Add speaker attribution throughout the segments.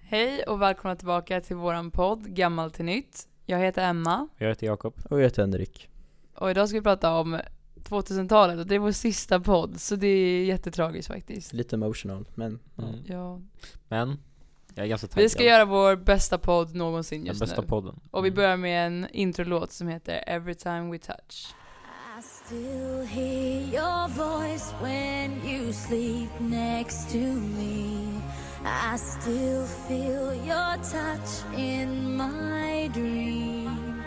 Speaker 1: Hej och välkomna tillbaka till våran podd Gammal till nytt. Jag heter Emma
Speaker 2: Jag heter Jakob.
Speaker 3: Och jag heter Henrik.
Speaker 1: och idag ska vi prata om 2000-talet och det är vår sista podd så det är jättetragiskt faktiskt.
Speaker 3: Lite emotional, men ja.
Speaker 2: Mm.
Speaker 1: Ja.
Speaker 2: Men, jag är ganska taggad.
Speaker 1: Vi ska göra vår bästa podd någonsin
Speaker 2: den
Speaker 1: just
Speaker 2: bästa
Speaker 1: nu.
Speaker 2: podden. Mm.
Speaker 1: Och vi börjar med en introlåt som heter Every time we touch.
Speaker 4: I still hear your voice when you sleep next to me. I still feel your touch in my dream.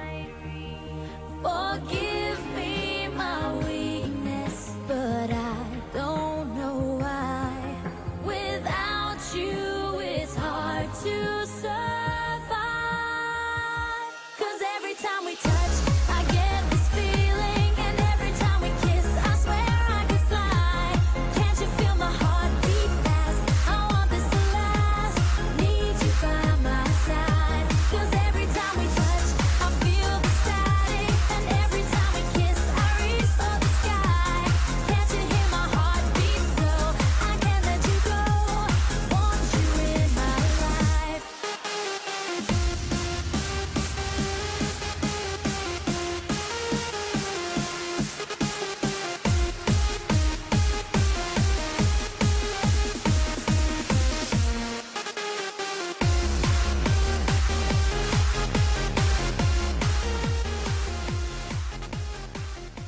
Speaker 4: Forgive Oh, me my weakness, but I don't know why. Without you, it's hard to survive. Cause every time we touch, I get this feeling. And every time we kiss, I swear I could fly. Can't you feel my heart beat fast? I want this to last. Need you by my side. Cause every time we touch, I feel the static. And every time we kiss, I reach for the sky. Can't you hear my heart beat so? I can't let you go. Want you in my life.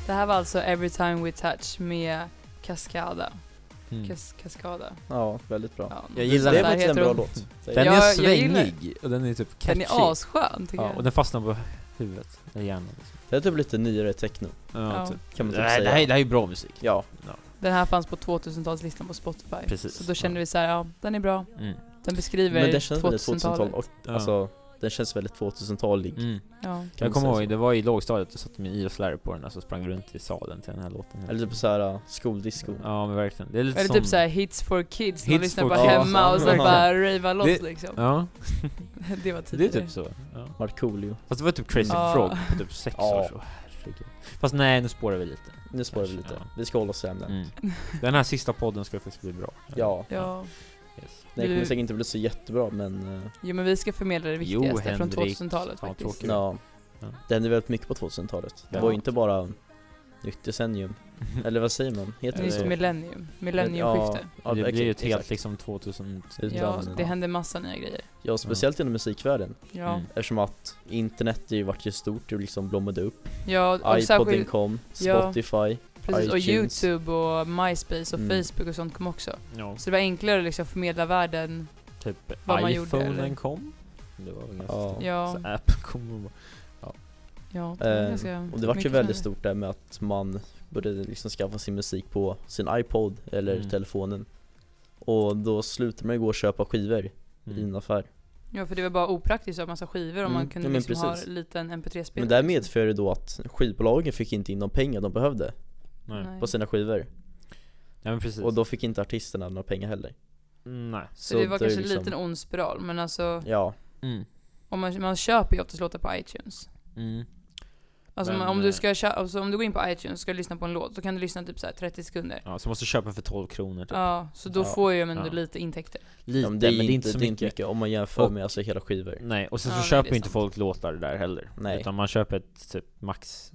Speaker 1: Det här var alltså Every time we touch med Cascada.
Speaker 2: Mm.
Speaker 1: Cas- Cascada.
Speaker 3: ja, väldigt bra.
Speaker 1: Ja,
Speaker 2: Jag gillar
Speaker 3: det
Speaker 1: så
Speaker 3: är
Speaker 2: den.
Speaker 1: där
Speaker 3: faktiskt en
Speaker 1: heter
Speaker 3: bra
Speaker 1: de.
Speaker 3: låt. säger
Speaker 2: Den
Speaker 3: jag.
Speaker 1: Ja,
Speaker 2: är
Speaker 1: jag gillar
Speaker 2: svängig och den är typ catchy.
Speaker 1: Den är asskön tycker
Speaker 2: Ja,
Speaker 1: jag.
Speaker 2: och den fastnar på huvudet, eller hjärnan liksom.
Speaker 3: Det är typ lite nyare techno,
Speaker 2: Ja,
Speaker 1: Ja.
Speaker 2: Typ.
Speaker 3: kan man typ
Speaker 2: det, här,
Speaker 3: säga.
Speaker 2: det, här, det här är ju bra musik.
Speaker 3: Ja,
Speaker 1: Den här fanns på 2000-talslistan på Spotify.
Speaker 2: Precis.
Speaker 1: Så då kände vi så här, ja den är bra.
Speaker 2: Mm.
Speaker 1: Den beskriver
Speaker 3: men den känns väldigt
Speaker 1: 2000-talet.
Speaker 3: 2000-tal och,
Speaker 2: Ja.
Speaker 3: alltså, den känns väldigt 2000-talig.
Speaker 2: Mm.
Speaker 1: Ja.
Speaker 3: kan
Speaker 2: Jag kommer
Speaker 3: man säga
Speaker 2: ihåg,
Speaker 3: så.
Speaker 2: det var i lågstadiet, jag satte min idrottslärare på den, alltså sprang runt i salen till den här låten.
Speaker 3: Eller typ såhär uh, skoldisco.
Speaker 2: Ja men verkligen. Det är lite
Speaker 1: Eller
Speaker 2: som...
Speaker 1: typ såhär hits for kids, de
Speaker 2: Hits
Speaker 1: lyssnar
Speaker 2: for
Speaker 1: bara
Speaker 2: kids.
Speaker 1: hemma och så
Speaker 2: Ja.
Speaker 1: bara rava loss
Speaker 2: Det-
Speaker 1: liksom.
Speaker 2: Ja,
Speaker 1: Det var
Speaker 2: det är
Speaker 1: tidigare.
Speaker 2: typ så. Ja.
Speaker 3: Markoolio.
Speaker 2: Fast det var typ Crazy
Speaker 1: Ja.
Speaker 2: Frog på typ sex
Speaker 3: Ja.
Speaker 2: år så, herregud. Fast nej, nu spårar vi lite.
Speaker 3: Nu spårar vi
Speaker 2: Kanske,
Speaker 3: lite.
Speaker 2: ja.
Speaker 3: Vi ska hålla oss till ämnet.
Speaker 2: Mm. Den här sista podden ska faktiskt bli bra.
Speaker 3: Ja,
Speaker 1: Ja.
Speaker 2: Yes.
Speaker 3: den kommer
Speaker 1: Du-
Speaker 3: säkert inte bli så jättebra men, uh,
Speaker 1: Jo men vi ska förmedla det
Speaker 2: Jo,
Speaker 1: viktigaste från
Speaker 2: Henrik.
Speaker 1: 2000-talet
Speaker 2: Fan,
Speaker 1: faktiskt.
Speaker 2: tråkigt. Kul.
Speaker 3: ja.
Speaker 2: Ja.
Speaker 3: Det hände väldigt mycket på 2000-talet. Det
Speaker 2: Ja.
Speaker 3: var ju inte bara nytt decennium. Eller vad säger man? Heter det
Speaker 2: Nytt
Speaker 3: så?
Speaker 1: Nytt millennium, millenniumskifte.
Speaker 3: Ja,
Speaker 2: det blir ju ett
Speaker 3: exakt,
Speaker 2: helt
Speaker 3: exakt.
Speaker 2: liksom 2000...
Speaker 1: Ja,
Speaker 3: Utan-
Speaker 1: det hände massa nya grejer.
Speaker 3: Ja, speciellt inom musikvärlden.
Speaker 1: Ja,
Speaker 2: Mm.
Speaker 3: Eftersom att internet ju vart ju stort, det liksom blommade upp.
Speaker 1: ja och
Speaker 3: Ipoden
Speaker 1: särskilt,
Speaker 3: kom,
Speaker 1: Ja.
Speaker 3: Spotify.
Speaker 1: precis, och
Speaker 3: iTunes.
Speaker 1: youtube och myspace och
Speaker 3: Mm.
Speaker 1: facebook och sånt kom också.
Speaker 2: Ja,
Speaker 1: Så det var enklare att liksom förmedla världen.
Speaker 2: typ
Speaker 1: Vad man gjorde, eller?
Speaker 2: iPhonen kom. Det var väl ganska
Speaker 3: Ja.
Speaker 2: stort.
Speaker 1: Ja,
Speaker 2: Så Apple kom och bara...
Speaker 1: ja. det var
Speaker 3: Eh,
Speaker 1: ganska
Speaker 3: och det vart ju
Speaker 1: mycket
Speaker 3: väldigt
Speaker 1: såna-
Speaker 3: stort där med att man började liksom skaffa sin musik på sin iPod eller
Speaker 2: Mm.
Speaker 3: telefonen. Och då slutade man ju gå och köpa skivor i en
Speaker 2: Mm.
Speaker 3: affär.
Speaker 1: Ja för det var bara opraktiskt att ha massa skivor om
Speaker 3: Mm,
Speaker 1: man kunde
Speaker 3: ja, men
Speaker 1: liksom ha
Speaker 3: precis.
Speaker 1: en liten mp3-spelare.
Speaker 3: Men det här medför ju då att skivbolagen fick inte in de pengar de behövde
Speaker 2: Nej. Nej.
Speaker 3: på sina skivor.
Speaker 2: men precis.
Speaker 3: Och då fick inte artisterna några pengar heller.
Speaker 2: Mm, Nej.
Speaker 1: Så det var
Speaker 3: är
Speaker 1: kanske en
Speaker 3: liksom-
Speaker 1: liten ond spiral, men alltså
Speaker 3: Ja,
Speaker 2: Mm.
Speaker 1: om man, man köper ju oftast låtar på iTunes.
Speaker 2: Mm.
Speaker 1: Alltså
Speaker 2: Men,
Speaker 1: man- om,
Speaker 2: eh,
Speaker 1: du ska, kö- alltså om du går in på iTunes och ska lyssna på en låt, då kan du lyssna typ så här 30 sekunder.
Speaker 2: Ja, så måste du köpa den för 12 kronor typ.
Speaker 1: Ja, så då
Speaker 3: Ja.
Speaker 1: får ju de ändå
Speaker 2: Ja.
Speaker 1: lite intäkter.
Speaker 2: Lite,
Speaker 3: ja, men
Speaker 2: men det är inte så
Speaker 3: det är
Speaker 2: mycket.
Speaker 3: om man jämför
Speaker 2: Och-
Speaker 3: med alltså hela skivor.
Speaker 2: Nej, och sen så
Speaker 1: Ja, nej, det
Speaker 2: köper
Speaker 1: är
Speaker 2: ju inte
Speaker 1: sant.
Speaker 2: folk låtar där heller.
Speaker 3: Nej.
Speaker 2: Utan man köper ett typ max...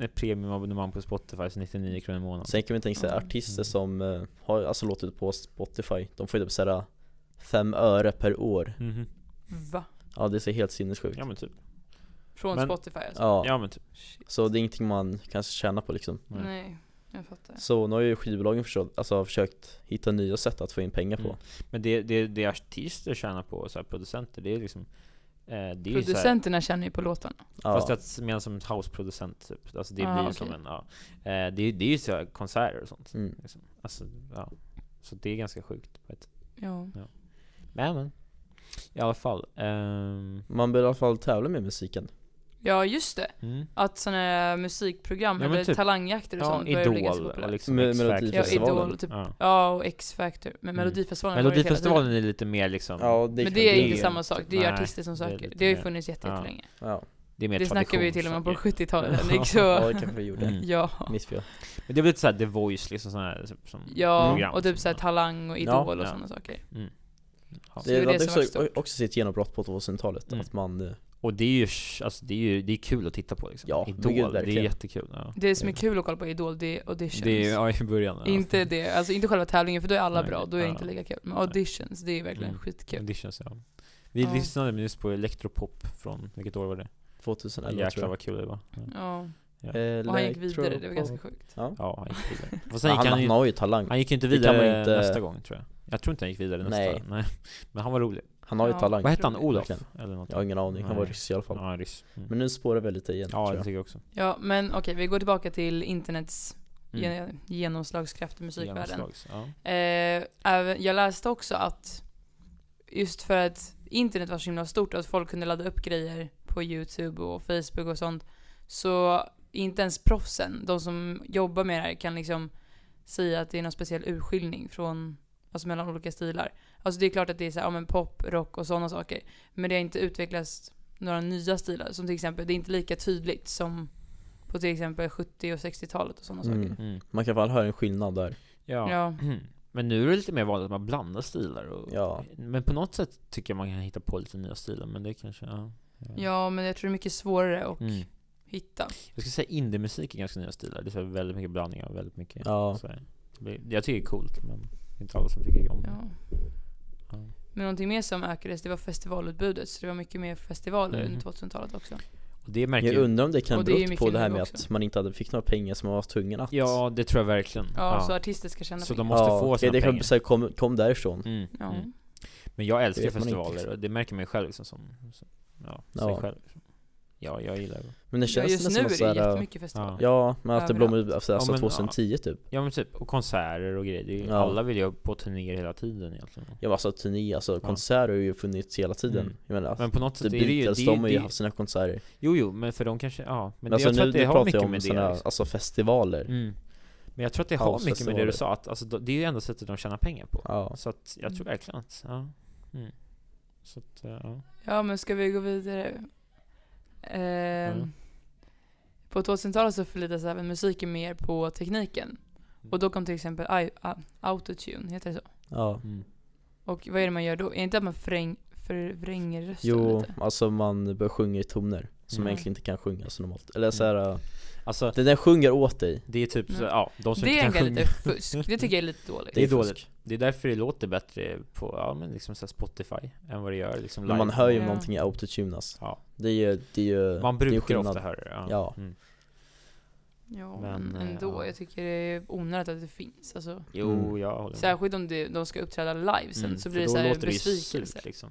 Speaker 2: Ett premiumabonnemang på Spotify, så 99 kronor i månaden.
Speaker 3: Sen kan vi tänka sig
Speaker 1: Mm.
Speaker 3: artister som eh, har alltså låtit på Spotify, de får ju typ såhär fem öre per år.
Speaker 2: Mhm.
Speaker 1: Va?
Speaker 3: Ja det ser helt sinnessjukt.
Speaker 2: Ja men typ.
Speaker 1: Från
Speaker 2: Men-
Speaker 1: Spotify alltså?
Speaker 3: Ja,
Speaker 2: Ja men typ.
Speaker 1: Shit.
Speaker 3: så det är ingenting man kanske tjänar på liksom.
Speaker 2: nej.
Speaker 1: Nej, jag fattar.
Speaker 3: Så nu har ju skivbolagen försökt, alltså, har försökt hitta nya sätt att få in pengar på.
Speaker 2: Mm. Men det, det, det artister tjänar på, så här, producenter, det är liksom... Eh, det är ju så här,
Speaker 1: Producenterna tjänar ju på låtarna.
Speaker 3: Ja.
Speaker 2: Fast jag menar som houseproducent typ. Alltså det
Speaker 1: Ah,
Speaker 2: blir ju
Speaker 1: okej.
Speaker 2: som en, ja. Eh, det, är- det är ju så här konserter och sånt.
Speaker 3: Mm.
Speaker 2: Liksom. Alltså, ja. Så det är ganska sjukt. på ett sätt.
Speaker 1: Ja.
Speaker 2: Men, men. I alla fall. ehm,
Speaker 3: Man bör i alla fall tävla med musiken.
Speaker 1: ja, just det.
Speaker 2: mm.
Speaker 1: Att sådana här musikprogram
Speaker 2: Ja, men
Speaker 1: eller
Speaker 2: typ-
Speaker 1: talangjakter och
Speaker 2: Ja,
Speaker 1: sånt börjar bli ganska
Speaker 2: Idol och
Speaker 1: populärt.
Speaker 2: liksom
Speaker 3: Me-
Speaker 2: X-Factor.
Speaker 1: Ja,
Speaker 3: Melodifestivalen.
Speaker 1: Idol, typ.
Speaker 2: Ja.
Speaker 1: Ja, och X-Factor. Men
Speaker 2: Mm.
Speaker 1: Melodifestivalen har varit hela
Speaker 2: Melodifestivalen är lite mer liksom,
Speaker 3: det
Speaker 1: Men det är
Speaker 2: det
Speaker 1: inte
Speaker 2: är-
Speaker 1: samma sak, det är
Speaker 2: nej,
Speaker 1: artister som
Speaker 2: det är
Speaker 1: söker.
Speaker 2: lite
Speaker 1: Det har ju
Speaker 2: mer-
Speaker 1: funnits jätte-
Speaker 2: ja.
Speaker 1: jättelänge.
Speaker 3: Ja,
Speaker 2: det är mer
Speaker 1: Det snackar vi ju till och med på
Speaker 2: traditionssaker.
Speaker 1: 70-talet Henrik,
Speaker 3: ja
Speaker 1: så
Speaker 3: det kanske vi gjorde.
Speaker 2: Mm.
Speaker 1: ja.
Speaker 3: Mitt fel.
Speaker 2: Men det är väl lite såhär The Voice liksom sån här, typ, som
Speaker 1: Ja,
Speaker 2: program
Speaker 1: och typ
Speaker 2: som-
Speaker 1: såhär talang och idol
Speaker 2: Ja,
Speaker 1: och
Speaker 2: ja.
Speaker 1: sådana saker.
Speaker 2: Mm.
Speaker 1: det är
Speaker 3: Det
Speaker 1: ju
Speaker 3: hade
Speaker 1: det som är
Speaker 3: också,
Speaker 1: stort.
Speaker 3: också sitt genombrott på 2000-talet,
Speaker 2: Mm.
Speaker 3: att man eh,
Speaker 2: Och det är ju, sh- alltså det är ju det är kul att titta på liksom.
Speaker 3: Ja, men
Speaker 2: Idol,
Speaker 3: gud,
Speaker 2: det är
Speaker 3: verkligen.
Speaker 2: jättekul. Ja.
Speaker 1: Det som är kul att kolla på Idol, det är auditions.
Speaker 2: Det är, ja, i början. Ja.
Speaker 1: Inte det, alltså inte själva tävlingen för då är alla
Speaker 2: Nej,
Speaker 1: bra, då är det
Speaker 2: ja.
Speaker 1: inte lika kul. Men auditions, det är verkligen
Speaker 2: Mm.
Speaker 1: skitkul.
Speaker 2: Auditions, ja. Vi
Speaker 1: Ja.
Speaker 2: lyssnade nyss på Electropop från, vilket år var det?
Speaker 3: 2011
Speaker 2: Jäklar
Speaker 3: tror Eh,
Speaker 2: vad kul det var. Ja,
Speaker 1: Ja.
Speaker 3: jag.
Speaker 1: Och han gick vidare, det var ganska sjukt.
Speaker 2: ja han gick vidare. Fast sen
Speaker 3: Men
Speaker 2: gick
Speaker 3: han,
Speaker 2: han,
Speaker 3: han,
Speaker 2: ju,
Speaker 3: har ju talang.
Speaker 2: han gick ju inte
Speaker 3: det kan man
Speaker 2: vidare
Speaker 3: inte-
Speaker 2: nästa gång tror jag. Jag tror inte han gick vidare nästa.
Speaker 3: Nej.
Speaker 2: Nej. Men han var rolig.
Speaker 3: Han har ju
Speaker 1: Ja.
Speaker 3: talang.
Speaker 2: Vad hette han?
Speaker 1: rolig.
Speaker 2: Olof?
Speaker 3: Verkligen.
Speaker 2: Eller något?
Speaker 3: Jag har ingen aning, han var
Speaker 2: Nej.
Speaker 3: ryss i alla fall.
Speaker 2: Ja, en ryss. Mm.
Speaker 3: Men nu spårar vi lite igen
Speaker 2: ja,
Speaker 3: tror
Speaker 2: det
Speaker 3: jag.
Speaker 2: tycker jag också.
Speaker 1: Ja, men okej, vi går tillbaka till internets
Speaker 2: Mm.
Speaker 1: gen- genomslagskraft i musikvärlden.
Speaker 2: Genomslags, Ja.
Speaker 1: Eh, även- jag läste också att just för att internet var så himla stort och att folk kunde ladda upp grejer på YouTube och Facebook och sånt. Så inte ens proffsen, de som jobbar med det här kan liksom säga att det är någon speciell urskiljning från, alltså mellan olika stilar. Alltså det är klart att det är så här, ja, men pop, rock och sådana saker. Men det har inte utvecklats några nya stilar. Som till exempel, det är inte lika tydligt som på till exempel 70 och 60-talet och sådana
Speaker 3: Mm.
Speaker 1: saker.
Speaker 2: Mm.
Speaker 3: Man kan i alla fall höra en skillnad där.
Speaker 2: Ja.
Speaker 1: Ja.
Speaker 2: Mm. Men nu är det lite mer vanligt att man blandar stilar och,
Speaker 3: Ja.
Speaker 2: Men på något sätt tycker jag man kan hitta på lite nya stilar men det kanske, ja.
Speaker 1: ja, men jag tror det är mycket svårare att
Speaker 2: Mm.
Speaker 1: hitta.
Speaker 2: Jag skulle säga indiemusik är ganska nya stilar, det är så här väldigt mycket blandningar och väldigt mycket
Speaker 3: Ja.
Speaker 2: så här. Det blir- Jag tycker det är coolt men det är inte alla som tycker om det.
Speaker 1: Ja.
Speaker 2: Ja.
Speaker 1: Men någonting mer som ökades, det var festivalutbudet. Så det var mycket mer festivaler
Speaker 2: Mhm.
Speaker 1: under 2000-talet också.
Speaker 2: Och det märker
Speaker 3: Jag
Speaker 2: ju
Speaker 3: undrar om det kan
Speaker 1: Och det är ju
Speaker 3: bero på
Speaker 1: mycket
Speaker 3: det här
Speaker 1: nu
Speaker 3: med
Speaker 1: också.
Speaker 3: att man inte hade fick några pengar som man var tvungen att
Speaker 2: Ja, det tror jag verkligen.
Speaker 1: Ja, så artister ska tjäna
Speaker 2: Så
Speaker 1: pengar.
Speaker 2: de måste få sina
Speaker 3: det, det kan
Speaker 2: pengar.
Speaker 3: säga kom, kom därifrån.
Speaker 2: Mm.
Speaker 1: Ja.
Speaker 2: Mm. Men jag älskar
Speaker 3: vet man inte,
Speaker 2: festivaler
Speaker 3: liksom.
Speaker 2: och det märker man ju själv liksom som, som ja, sig
Speaker 3: Ja.
Speaker 2: själv. Ja, jag gillar det.
Speaker 3: Men det
Speaker 1: ja,
Speaker 3: känns
Speaker 1: just nu
Speaker 3: nästan
Speaker 1: är det
Speaker 3: som att såhär,
Speaker 1: jättemycket festivaler.
Speaker 3: Ja, men att det
Speaker 1: Överallt.
Speaker 3: blommar ut alltså,
Speaker 2: Ja, men,
Speaker 3: 2010 typ.
Speaker 2: Ja men typ, och konserter och grejer. Det är ju-
Speaker 3: Ja.
Speaker 2: Alla vill ju på turnéer hela tiden egentligen.
Speaker 3: Ja, men alltså turné, alltså konserter har ju funnits hela tiden.
Speaker 2: Mm.
Speaker 3: Jag menar,
Speaker 2: Men på något
Speaker 3: The
Speaker 2: sätt är det ju...
Speaker 3: Beatles,
Speaker 2: det,
Speaker 3: de har ju
Speaker 2: det-
Speaker 3: haft sina konserter. Men,
Speaker 2: Jo, jo, men för de kanske, ja. Men det,
Speaker 3: alltså
Speaker 2: jag tror
Speaker 3: nu,
Speaker 2: att det
Speaker 3: nu
Speaker 2: har
Speaker 3: pratar jag
Speaker 2: mycket
Speaker 3: om
Speaker 2: med det
Speaker 3: sådana,
Speaker 2: liksom.
Speaker 3: alltså festivaler.
Speaker 2: mm. Men jag tror att det har mycket med det du
Speaker 3: Housefestivaler.
Speaker 2: sa, att alltså, de- det är ju enda sättet de tjänar pengar på.
Speaker 3: Ja.
Speaker 2: Så att jag tror
Speaker 1: Mm.
Speaker 2: verkligen att, ja. Mm. Så att, eh, ja.
Speaker 1: Ja, men ska vi gå vidare? Ehm,
Speaker 2: Mm.
Speaker 1: På 2000-talet så förlitas även musiken mer på tekniken. Och då kom till exempel I, a- autotune, heter det så?
Speaker 3: ja.
Speaker 2: Mm.
Speaker 1: Och vad är det man gör då? Är det inte att man fräng, förvränger rösten
Speaker 3: Jo,
Speaker 1: lite?
Speaker 3: alltså man börjar sjunga i toner som
Speaker 2: Mm.
Speaker 3: man egentligen inte kan sjunga så normalt. Eller såhär,
Speaker 2: Alltså,
Speaker 3: den där sjunger åt dig.
Speaker 2: det är typ, så,
Speaker 1: Mm.
Speaker 2: ja, de som
Speaker 1: Det
Speaker 2: inte
Speaker 1: är
Speaker 2: kan
Speaker 1: ändå
Speaker 2: sjunga.
Speaker 1: lite fusk. Det tycker jag är lite dåligt.
Speaker 2: Det är
Speaker 3: fusk.
Speaker 2: dåligt. Det är därför det låter bättre på, ja men liksom så här Spotify, än vad det gör liksom
Speaker 3: Men man hör ju om
Speaker 1: Ja.
Speaker 3: någonting är autotune alltså.
Speaker 2: Ja.
Speaker 3: Det är ju, det är ju
Speaker 2: Man
Speaker 3: det är ju
Speaker 2: brukar
Speaker 3: skillnad.
Speaker 2: ofta höra det. Ja.
Speaker 3: Ja.
Speaker 2: Mm.
Speaker 1: Ja,
Speaker 2: Men,
Speaker 1: men,
Speaker 2: eh,
Speaker 1: ändå.
Speaker 2: ja.
Speaker 1: Jag tycker det är onödigt att det finns. Alltså.
Speaker 2: Jo,
Speaker 3: Mm.
Speaker 2: jag håller med.
Speaker 1: Särskilt om det, de ska uppträda live sen
Speaker 2: Mm,
Speaker 1: så
Speaker 2: för
Speaker 1: blir det
Speaker 2: då
Speaker 1: så här
Speaker 2: låter det ju
Speaker 1: besvikelse.
Speaker 2: surt, liksom.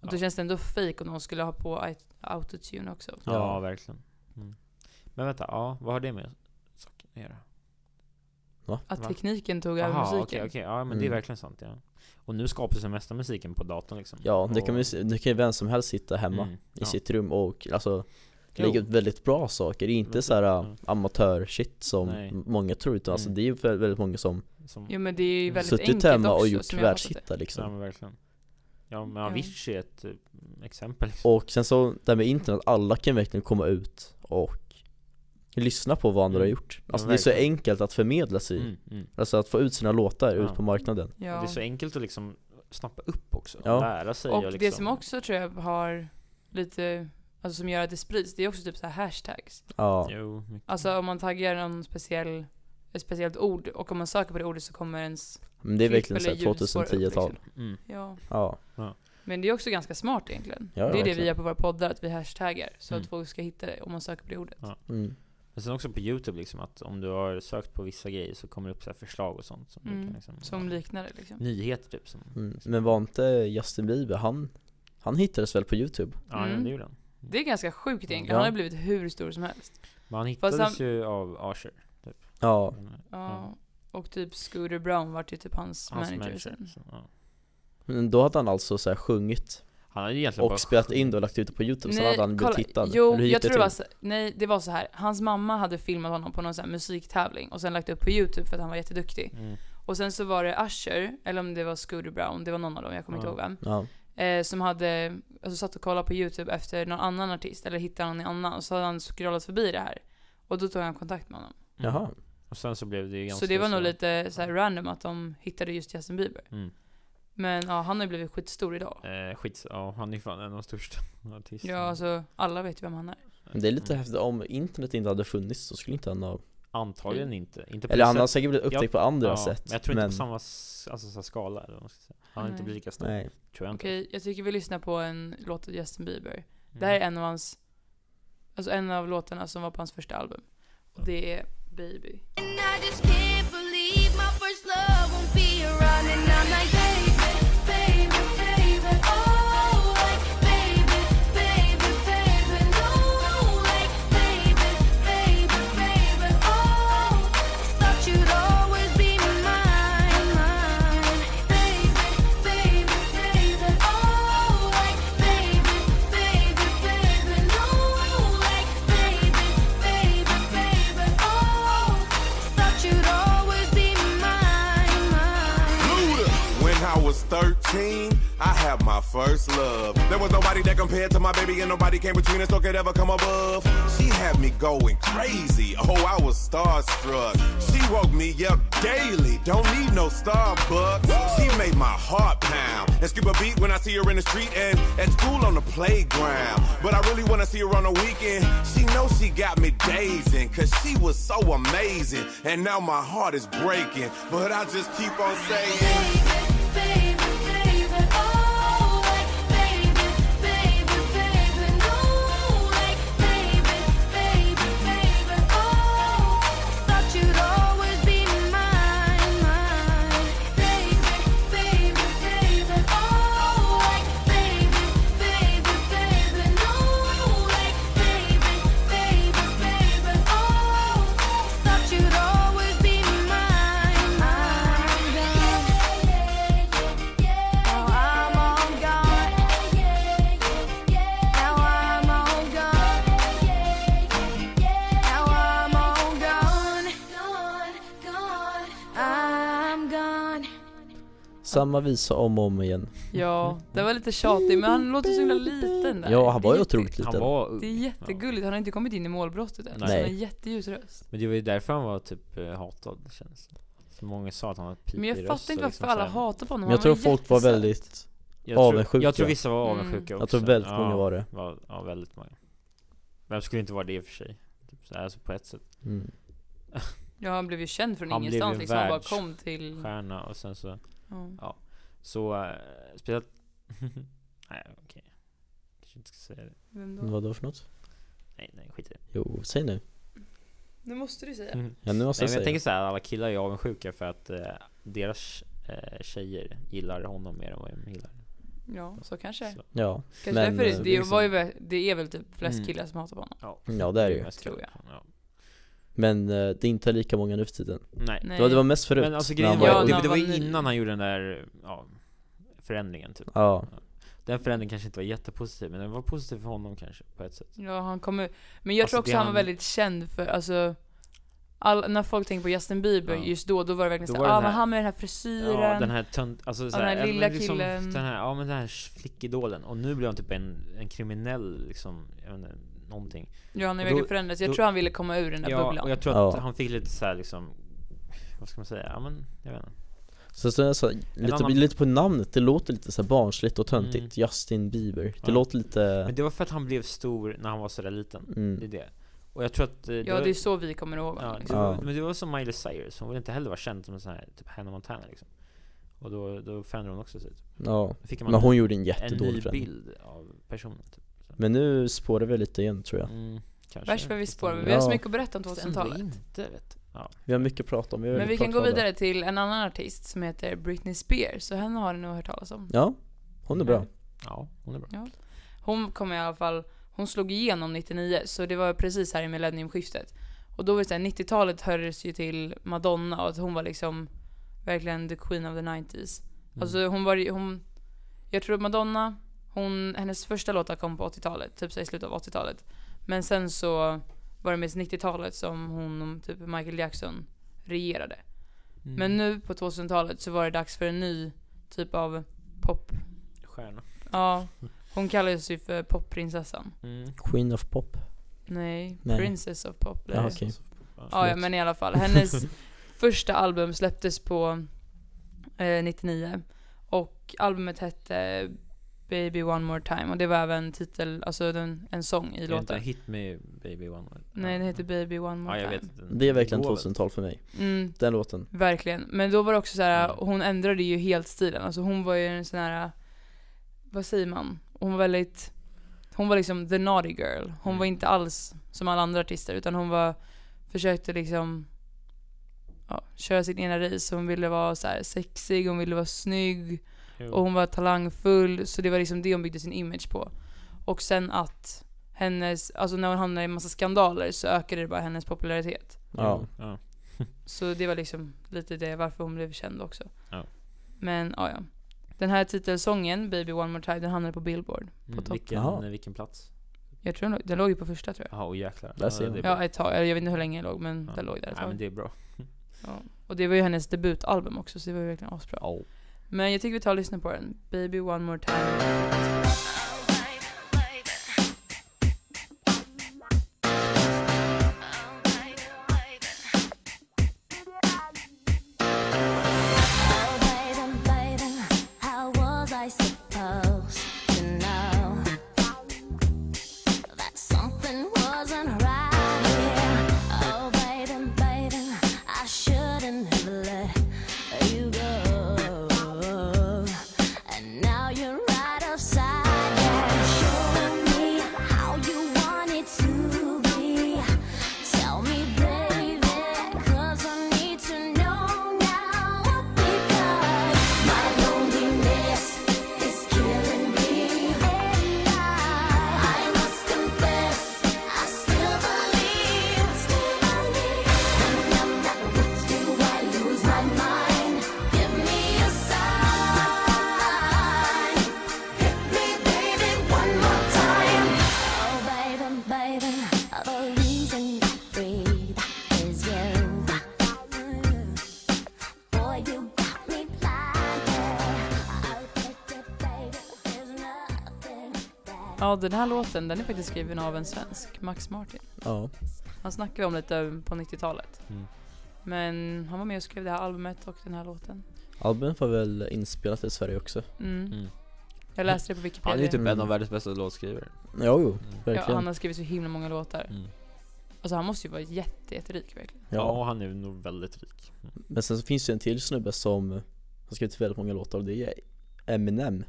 Speaker 1: Och då
Speaker 2: Ja.
Speaker 1: känns det ändå fake om de skulle ha på aut- autotune också.
Speaker 2: Ja,
Speaker 3: Ja.
Speaker 2: verkligen. Mm. Men vänta, ja, vad har det med saken att göra?
Speaker 1: Att
Speaker 2: Va?
Speaker 1: tekniken tog över
Speaker 2: Jaha,
Speaker 1: musiken.
Speaker 2: okej, okej, ja men det är
Speaker 3: Mm.
Speaker 2: verkligen sant ja. Och nu skapas den mesta musiken på datorn liksom.
Speaker 3: Ja, det
Speaker 2: Och-
Speaker 3: kan, man ju, se- det kan ju vem som helst sitta hemma
Speaker 2: Mm,
Speaker 3: i
Speaker 2: ja.
Speaker 3: sitt rum och alltså
Speaker 2: Jo.
Speaker 3: lägga ut väldigt bra saker, det är inte
Speaker 2: Men-
Speaker 3: så här äh,
Speaker 2: ja.
Speaker 3: amatörshit som
Speaker 2: Nej.
Speaker 3: många tror utan alltså
Speaker 2: Mm.
Speaker 3: det är ju vä- väldigt många som
Speaker 2: Som,
Speaker 1: Jo men det
Speaker 2: Mm.
Speaker 1: är ju väldigt
Speaker 3: suttit
Speaker 1: enkelt
Speaker 3: hemma
Speaker 1: också,
Speaker 3: och gjort
Speaker 1: som jag har fattat det.
Speaker 3: världshittar liksom
Speaker 2: Ja men verkligen. Ja men
Speaker 1: Ja.
Speaker 2: Avicii är ett eh, exempel. Liksom.
Speaker 3: Och sen så det här med internet, alla kan verkligen komma ut och lyssna på vad andra
Speaker 2: Mm.
Speaker 3: har gjort Alltså
Speaker 2: men
Speaker 3: det är så
Speaker 2: verkligen.
Speaker 3: enkelt att förmedla sig,
Speaker 2: Mm, mm.
Speaker 3: alltså att få ut sina låtar
Speaker 2: Ja.
Speaker 3: ut på marknaden
Speaker 2: Och
Speaker 1: Ja.
Speaker 2: det är så enkelt att liksom snappa upp också,
Speaker 3: Ja.
Speaker 2: lära sig
Speaker 1: och
Speaker 2: liksom,
Speaker 1: det som också tror jag har lite, alltså som gör att det sprids, det är också typ så här hashtags.
Speaker 3: Ja,
Speaker 2: Jo, mycket.
Speaker 1: Alltså om man taggar någon speciell, ett speciellt ord och om man söker på det ordet så kommer ens,
Speaker 3: men det är
Speaker 1: klipp
Speaker 3: verkligen
Speaker 1: eller
Speaker 3: såhär
Speaker 1: ljudspår upp,
Speaker 3: 2010-tal
Speaker 1: liksom.
Speaker 2: Mm.
Speaker 1: ja.
Speaker 3: Ja,
Speaker 1: Men det är också ganska smart egentligen.
Speaker 3: Ja,
Speaker 1: det är
Speaker 3: ja,
Speaker 1: det vi
Speaker 3: verkligen.
Speaker 1: gör på våra poddar, att vi hashtaggar så
Speaker 2: Mm.
Speaker 1: att folk ska hitta det om man söker på det ordet.
Speaker 2: Ja.
Speaker 3: mm.
Speaker 2: Men sen också på youtube liksom att om du har sökt på vissa grejer så kommer det upp så här förslag och sånt som du
Speaker 1: Mm,
Speaker 2: kan liksom,
Speaker 1: Som
Speaker 2: ja.
Speaker 1: liknar det liksom.
Speaker 2: Nyheter typ som...
Speaker 3: Mm. Men var inte Justin Bieber, han, han hittades väl på youtube?
Speaker 2: Ja, ja,
Speaker 1: Mm.
Speaker 2: det gjorde han.
Speaker 1: Det är ganska sjukt egentligen.
Speaker 3: Ja.
Speaker 1: Han har blivit hur stor som helst.
Speaker 2: Men han
Speaker 1: Fast
Speaker 2: hittades ju av Asher.
Speaker 3: Ja,
Speaker 1: Ja.
Speaker 3: Mm.
Speaker 2: Ja.
Speaker 1: Och typ Scooter Brown vart ju typ hans,
Speaker 2: Hans
Speaker 1: manager,
Speaker 2: manager.
Speaker 1: sen.
Speaker 2: så, ja.
Speaker 3: Men då hade han alltså så här sjungit
Speaker 2: Han hade ju egentligen bara
Speaker 3: och spelat in det och
Speaker 2: sjungit.
Speaker 3: lagt ut det på youtube, sen hade han blivit hittad
Speaker 1: Jo,
Speaker 3: Eller hur gick
Speaker 1: jag tror det var
Speaker 3: till?
Speaker 1: så, nej, det var så här. Hans mamma hade filmat honom på någon sån här musiktävling och sen lagt upp på YouTube för att han var jätteduktig.
Speaker 2: Mm.
Speaker 1: Och sen så var det Usher, eller om det var Scooter Brown, det var någon av dem, jag kommer
Speaker 2: Ja.
Speaker 1: inte ihåg vem.
Speaker 3: Ja,
Speaker 1: eh, som hade alltså, satt och kollat på YouTube efter någon annan artist, eller hittade någon annan, och så hade han scrollat förbi det här. Och då tog han kontakt med honom.
Speaker 3: jaha
Speaker 2: Mm. Och sen så blev det ju ganska
Speaker 1: Så det var nog lite så här,
Speaker 2: ja.
Speaker 1: random att de hittade just Justin Bieber.
Speaker 2: Mm.
Speaker 1: Men ja, han har ju blivit skitstor idag.
Speaker 2: Eh, skits, ja han är fan en av de största artisterna.
Speaker 1: Ja, alltså alla vet ju vem han är.
Speaker 3: Men
Speaker 2: Mm.
Speaker 3: det är lite häftigt, om internet inte hade funnits så skulle inte han ha
Speaker 2: Antagligen inte. inte på
Speaker 3: Eller
Speaker 2: det
Speaker 3: han har
Speaker 2: sätt-
Speaker 3: säkert blivit upptäckt på andra
Speaker 2: ja,
Speaker 3: sätt
Speaker 2: Men jag tror inte på samma s- alltså, så här skala. Eller vad man ska säga. Han har inte
Speaker 1: Nej.
Speaker 2: blivit lika stor.
Speaker 3: Nej,
Speaker 2: Tror jag inte.
Speaker 1: Okej, jag tycker vi lyssnar på en låt av Justin Bieber.
Speaker 2: Mm.
Speaker 1: Det här är en av hans, alltså en av låtarna som var på hans första album. Och det är Baby.
Speaker 4: And I just can't believe my first love won't be around. And I'm like, baby, baby, baby, oh, like, baby, baby, baby, no, like, baby, baby, baby, oh. Thought you'd always be mine, mine. Baby, baby, baby, oh, like, baby, baby, baby, no, like, baby, baby, baby, oh. Thought you'd always be mine, mine.
Speaker 5: When I was 13, I had my first love. There was nobody that compared to my baby, and nobody came between us or could ever come above. She had me going crazy. Oh, I was starstruck. She woke me up daily. Don't need no Starbucks. She made my heart pound and skip a beat when I see her in the street and at school on the playground. But I really wanna see her on the weekend. She knows she got me dazing, cause she was so amazing. And now my heart is breaking, but I just keep on saying.
Speaker 4: You'd always be mine, mine, girl. Now I'm on guard. Now I'm on guard. Now I'm on guard. I'm gone.
Speaker 3: samma visa om och om igen
Speaker 1: Ja, det var lite tjatig men han låter så himla liten där.
Speaker 3: Ja, han var
Speaker 1: Det
Speaker 3: ju
Speaker 1: är
Speaker 3: otroligt
Speaker 2: Han
Speaker 3: liten
Speaker 2: var
Speaker 1: jätte- Det är jättegulligt, han har inte kommit in i målbrottet än.
Speaker 2: Nej.
Speaker 1: Så han har
Speaker 3: Nej.
Speaker 1: en jätteljus röst.
Speaker 2: Men det var ju därför han var typ eh, hatad känns det Så många sa att han var ett
Speaker 1: Men jag
Speaker 2: pipig röst
Speaker 1: fattar inte
Speaker 2: och liksom
Speaker 1: varför alla
Speaker 2: så här-
Speaker 1: hatar på honom.
Speaker 3: Men jag
Speaker 1: Han
Speaker 3: tror
Speaker 1: ju
Speaker 3: folk var
Speaker 1: jättesöt.
Speaker 3: väldigt,
Speaker 2: jag tror-
Speaker 3: avundsjuka.
Speaker 2: Jag tror vissa var
Speaker 1: Mm.
Speaker 2: avundsjuka också
Speaker 3: jag tror väldigt
Speaker 2: ja,
Speaker 3: många var det
Speaker 2: var Ja, väldigt många Vem skulle inte vara det i och för sig? Typ så här, alltså på ett sätt
Speaker 3: mm.
Speaker 1: Ja, han blev ju känd från
Speaker 2: Han blev ju
Speaker 1: ingenstans
Speaker 2: en
Speaker 1: liksom. Han bara
Speaker 2: världs-
Speaker 1: kom till...
Speaker 2: Stjärna och sen så
Speaker 1: Ja.
Speaker 2: Så, eh, speciellt Nej okej Kanske inte ska säga det
Speaker 1: Vem då?
Speaker 3: Vad då för något?
Speaker 2: Nej nej skit i det
Speaker 3: Jo, säg nu
Speaker 1: Nu måste du säga.
Speaker 2: Nej
Speaker 3: Ja nu
Speaker 2: men
Speaker 3: måste jag säga
Speaker 2: jag tänker såhär, alla killar är avundsjuka för att eh, deras eh, tjejer gillar honom mer än vad de gillar
Speaker 1: Ja, så kanske det är.
Speaker 2: Så,
Speaker 3: Ja,
Speaker 1: Kanske
Speaker 3: Men,
Speaker 1: därför det,
Speaker 3: eh,
Speaker 1: det,
Speaker 2: liksom-
Speaker 1: var ju, vä- det är väl typ flest
Speaker 2: Mm.
Speaker 1: killar som hatar på honom.
Speaker 2: ja.
Speaker 3: ja det är det ju
Speaker 2: mest
Speaker 1: Tror jag.
Speaker 2: klart. Ja.
Speaker 3: Men eh, det är inte lika många nu för tiden
Speaker 2: Nej
Speaker 1: Nej.
Speaker 3: Det var, det var mest förut
Speaker 2: Men alltså
Speaker 3: när
Speaker 2: grejen
Speaker 3: han
Speaker 2: var,
Speaker 1: Ja,
Speaker 2: det,
Speaker 1: när
Speaker 2: det var
Speaker 1: han
Speaker 2: ju
Speaker 1: var ny.
Speaker 2: innan han gjorde den där, ja, förändringen typ.
Speaker 3: Ja,
Speaker 2: Den förändringen kanske inte var jättepositiv, men den var positiv för honom kanske på ett sätt.
Speaker 1: Ja, han kommer... Men jag
Speaker 2: Alltså,
Speaker 1: tror också
Speaker 2: det
Speaker 1: han var
Speaker 2: han-
Speaker 1: väldigt känd för, alltså... All, när folk tänker på Justin Bieber
Speaker 2: Ja.
Speaker 1: just då, då var det verkligen
Speaker 2: Då
Speaker 1: såhär,
Speaker 2: var den
Speaker 1: ah men
Speaker 2: här-
Speaker 1: han med den här frisyren.
Speaker 2: Ja, den här tönt, alltså så
Speaker 1: den här
Speaker 2: ja, men
Speaker 1: lilla killen.
Speaker 2: Den här, ja men den här flickidolen. Och nu blev han typ en, en kriminell liksom, jag vet inte, någonting.
Speaker 1: Ja, han har
Speaker 2: och
Speaker 1: verkligen
Speaker 2: då-
Speaker 1: förändrats. Jag
Speaker 2: då-
Speaker 1: tror han ville komma ur den där
Speaker 2: Ja,
Speaker 1: bubblan.
Speaker 2: och jag tror att
Speaker 3: Ja.
Speaker 2: han fick lite så här liksom, vad ska man säga? Ja men, jag vet inte.
Speaker 3: så, så, så lite,
Speaker 2: annan-
Speaker 3: lite på namnet, det låter lite så här barnsligt och töntigt
Speaker 2: Mm.
Speaker 3: Justin Bieber, det
Speaker 2: Ja.
Speaker 3: låter lite
Speaker 2: Men det var för att han blev stor när han var sådär liten. Det är
Speaker 3: mm.
Speaker 2: det. Och jag tror att... eh,
Speaker 1: Ja,
Speaker 2: var-
Speaker 1: det är så vi kommer ihåg honom.
Speaker 2: Ja,
Speaker 1: liksom.
Speaker 2: det var,
Speaker 3: Ja.
Speaker 2: Men det var som Miley Cyrus, hon ville inte heller vara känd som en sån här typ Hannah Montana liksom. Och då, då förändrade hon också sig. Typ.
Speaker 3: Ja,
Speaker 2: Då fick man
Speaker 3: men hon gjorde en
Speaker 2: en ny
Speaker 3: jättedålig förändring
Speaker 2: bild av personen typ.
Speaker 3: Men nu spårar vi lite igen tror jag
Speaker 2: Mm, kanske.
Speaker 1: Värst vad vi spårar, men
Speaker 3: Ja.
Speaker 1: vi har så mycket att berätta om
Speaker 2: Fast ändå
Speaker 1: 2000-talet.
Speaker 2: inte vet du. Ja.
Speaker 3: Vi har mycket att prata om, vi har
Speaker 1: Men vi
Speaker 3: väldigt
Speaker 1: kan gå
Speaker 3: pratglada.
Speaker 1: vidare till en annan artist som heter Britney Spears, så henne har ni nog hört talas om.
Speaker 3: Ja, hon är bra
Speaker 2: ja, hon är bra.
Speaker 1: Hon kom i alla fall, hon slog igenom 99, så det var precis här i millenniumskiftet. Och då var det såhär, 90-talet hördes ju till Madonna och att hon var liksom verkligen the queen of the 90s. Alltså hon var ju- hon, jag tror att Madonna, hon, hennes första låtar kom på 80-talet, typ så här i slutet av 80-talet. Men sen så var det mest 90-talet som hon, typ Michael Jackson, regerade.
Speaker 2: Mm.
Speaker 1: Men nu på 2000-talet så var det dags för en ny typ av pop.
Speaker 2: Stjärna.
Speaker 1: Ja, hon kallades ju för popprinsessan.
Speaker 2: Mm.
Speaker 3: Queen of Pop
Speaker 1: Nej,
Speaker 3: Nej.
Speaker 1: Princess of Pop.
Speaker 3: Ja
Speaker 1: Ja,
Speaker 3: okej,
Speaker 1: ja,
Speaker 3: förlåt.
Speaker 1: men i alla fall. Hennes första album släpptes på eh, 99. Och albumet hette Baby One More Time och det var även titel, alltså den, en sång i
Speaker 2: Det är inte
Speaker 1: låten.
Speaker 2: Hit Me Baby One More
Speaker 1: Nej, den heter Baby One
Speaker 2: Ja,
Speaker 1: More
Speaker 2: jag
Speaker 1: Time.
Speaker 2: vet. Den,
Speaker 3: Det är verkligen
Speaker 2: går väl.
Speaker 3: 2000-tal för mig,
Speaker 1: Mm,
Speaker 3: den låten
Speaker 1: verkligen. Men då var det också så här,
Speaker 2: Mm.
Speaker 1: hon ändrade ju helt stilen. Alltså hon var ju en sån här, vad säger man? Hon var väldigt, hon var liksom the naughty girl. Hon
Speaker 2: Mm.
Speaker 1: var inte alls som alla andra artister utan hon var, försökte liksom ja, köra sin ena race. Hon ville vara så här sexig, hon ville vara snygg.
Speaker 2: Mm. Jo.
Speaker 1: Och hon var talangfull, så det var liksom det hon byggde sin image på. Och sen att hennes, alltså när hon hamnade i massa skandaler så ökade det bara hennes popularitet.
Speaker 3: Ja.
Speaker 2: ja.
Speaker 1: Så det var liksom lite det varför hon blev känd också.
Speaker 2: Ja.
Speaker 1: Men ja, ja. Den här titelsången, Baby One More Time, den hamnade på Billboard.
Speaker 2: Mm,
Speaker 1: topp.
Speaker 3: Jaha.
Speaker 2: vilken, vilken plats?
Speaker 1: Jag tror den, låg- den låg ju på första tror jag.
Speaker 2: Jaha, oh, jäklar.
Speaker 3: Där ser
Speaker 2: det
Speaker 3: man.
Speaker 2: är
Speaker 1: Ja,
Speaker 2: bra.
Speaker 1: ett tag. Eller Jag vet inte hur länge den låg, men
Speaker 2: Ja.
Speaker 1: den låg där ett
Speaker 2: Nej, men
Speaker 1: tag.
Speaker 2: det är bra.
Speaker 1: Ja. Och det var ju hennes debutalbum också, så det var ju verkligen asbra.
Speaker 2: Ja.
Speaker 1: Men jag tycker vi tar och lyssnar på den. Baby One More Time.
Speaker 4: How was I supposed to know that something wasn't right here? Oh, baby, baby, I shouldn't have let you go. And now you're right upside down. Show me how you want it to be. Tell me, baby, 'cause I need to know now. Because my loneliness is killing me. And I, I must confess, I still believe. Still believe. When I'm not with you, I lose my mind. Give me a sign. Hit me, baby, one more time. Oh, baby, baby, the reason I breathe is you. Boy, you got me blinded. I'll take it, baby. There's nothing that
Speaker 1: Ja, den här låten, den är faktiskt skriven av en svensk, Max Martin.
Speaker 3: Ja,
Speaker 1: Han snackade om lite på 90-talet.
Speaker 2: Mm.
Speaker 1: Men han var med och skrev det här albumet och den här låten.
Speaker 3: albumet var väl inspelat i Sverige också
Speaker 1: Mm.
Speaker 2: Mm.
Speaker 1: Jag läste det på
Speaker 2: Han är
Speaker 1: Wikipedia.
Speaker 2: ju typ en
Speaker 3: Mm.
Speaker 2: av världens bästa låtskrivare.
Speaker 3: Ja, jo,
Speaker 1: ja,
Speaker 3: verkligen
Speaker 1: han
Speaker 3: Ja,
Speaker 1: har skrivit så himla många låtar.
Speaker 2: Mm.
Speaker 1: Alltså han måste ju vara jätte, jätterik verkligen.
Speaker 2: Ja. och han är nog väldigt rik.
Speaker 3: Men sen så finns det en till snubbe som har skrivit väldigt många låtar och det är Eminem
Speaker 2: Mm.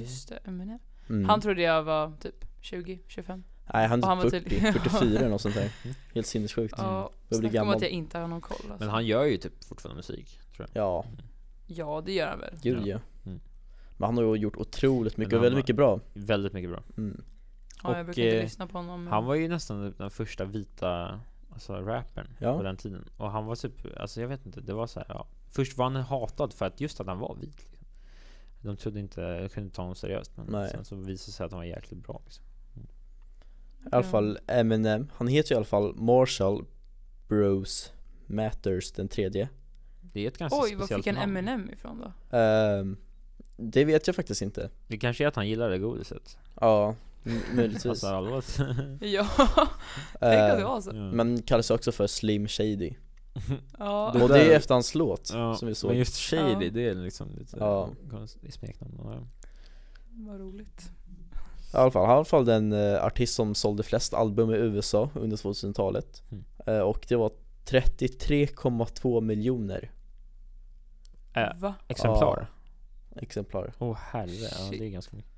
Speaker 1: Just det, Eminem.
Speaker 3: mm.
Speaker 1: Han trodde jag var typ 20, 25.
Speaker 2: Mm.
Speaker 3: Nej han är
Speaker 1: och han var
Speaker 3: typ
Speaker 1: tydlig.
Speaker 3: 40, 44 eller något sånt där Helt sinnessjukt
Speaker 2: Mm.
Speaker 1: Ja,
Speaker 3: Jag blir
Speaker 1: snacka om
Speaker 3: gammal.
Speaker 1: att jag inte har någon koll alltså.
Speaker 2: Men han gör ju typ fortfarande musik, tror jag.
Speaker 3: Ja,
Speaker 1: Ja, det gör han väl.
Speaker 3: gud
Speaker 2: Ja.
Speaker 3: ja
Speaker 2: Mm.
Speaker 3: Men han har ju gjort otroligt mycket
Speaker 2: han
Speaker 3: och väldigt
Speaker 2: var-
Speaker 3: mycket bra
Speaker 2: Väldigt mycket bra.
Speaker 3: mm.
Speaker 1: Ja, jag
Speaker 2: Och,
Speaker 1: brukar inte
Speaker 2: eh,
Speaker 1: lyssna på honom. men-
Speaker 2: Han var ju nästan typ den första vita alltså rappern
Speaker 3: Ja.
Speaker 2: på den tiden. Och han var typ, alltså jag vet inte, det var så här, ja. Först var han hatad för att just att han var vit. Liksom. De trodde inte, jag kunde inte ta honom seriöst. Men
Speaker 3: Nej.
Speaker 2: sen så visade det sig att han var jäkligt bra. Liksom.
Speaker 3: I alla fall Eminem, han heter ju i alla fall Marshall Bros Matters den tredje
Speaker 2: Det är ett ganska
Speaker 1: Oj, var
Speaker 2: speciellt
Speaker 1: fick han
Speaker 2: namn.
Speaker 1: Eminem ifrån då?
Speaker 3: Ehm, Det vet jag faktiskt inte
Speaker 2: Det kanske är att han gillade godiset.
Speaker 3: Ja, m- möjligtvis
Speaker 2: Alltså allvarligt.
Speaker 1: Ja,
Speaker 2: Eh,
Speaker 1: tänk om det
Speaker 3: Ehm,
Speaker 1: var så.
Speaker 2: Ja.
Speaker 3: Men kallas också för Slim Shady
Speaker 1: Ja,
Speaker 2: Det
Speaker 3: Och
Speaker 2: där-
Speaker 3: det är efter hans låt
Speaker 2: Ja,
Speaker 3: som vi såg
Speaker 2: Men just Shady,
Speaker 1: Ja.
Speaker 2: det är liksom lite
Speaker 3: Ja.
Speaker 2: konstigt smeknamn. Ja.
Speaker 1: vad roligt.
Speaker 3: I alla fall, han var i alla fall den eh, artist som sålde flest album i USA under 2000-talet
Speaker 2: Mm.
Speaker 3: Eh, Och det var 33,2 miljoner
Speaker 2: Äh.
Speaker 1: Va?
Speaker 2: Exemplar?
Speaker 3: exemplar
Speaker 2: Åh herre, ja, det är ganska mycket.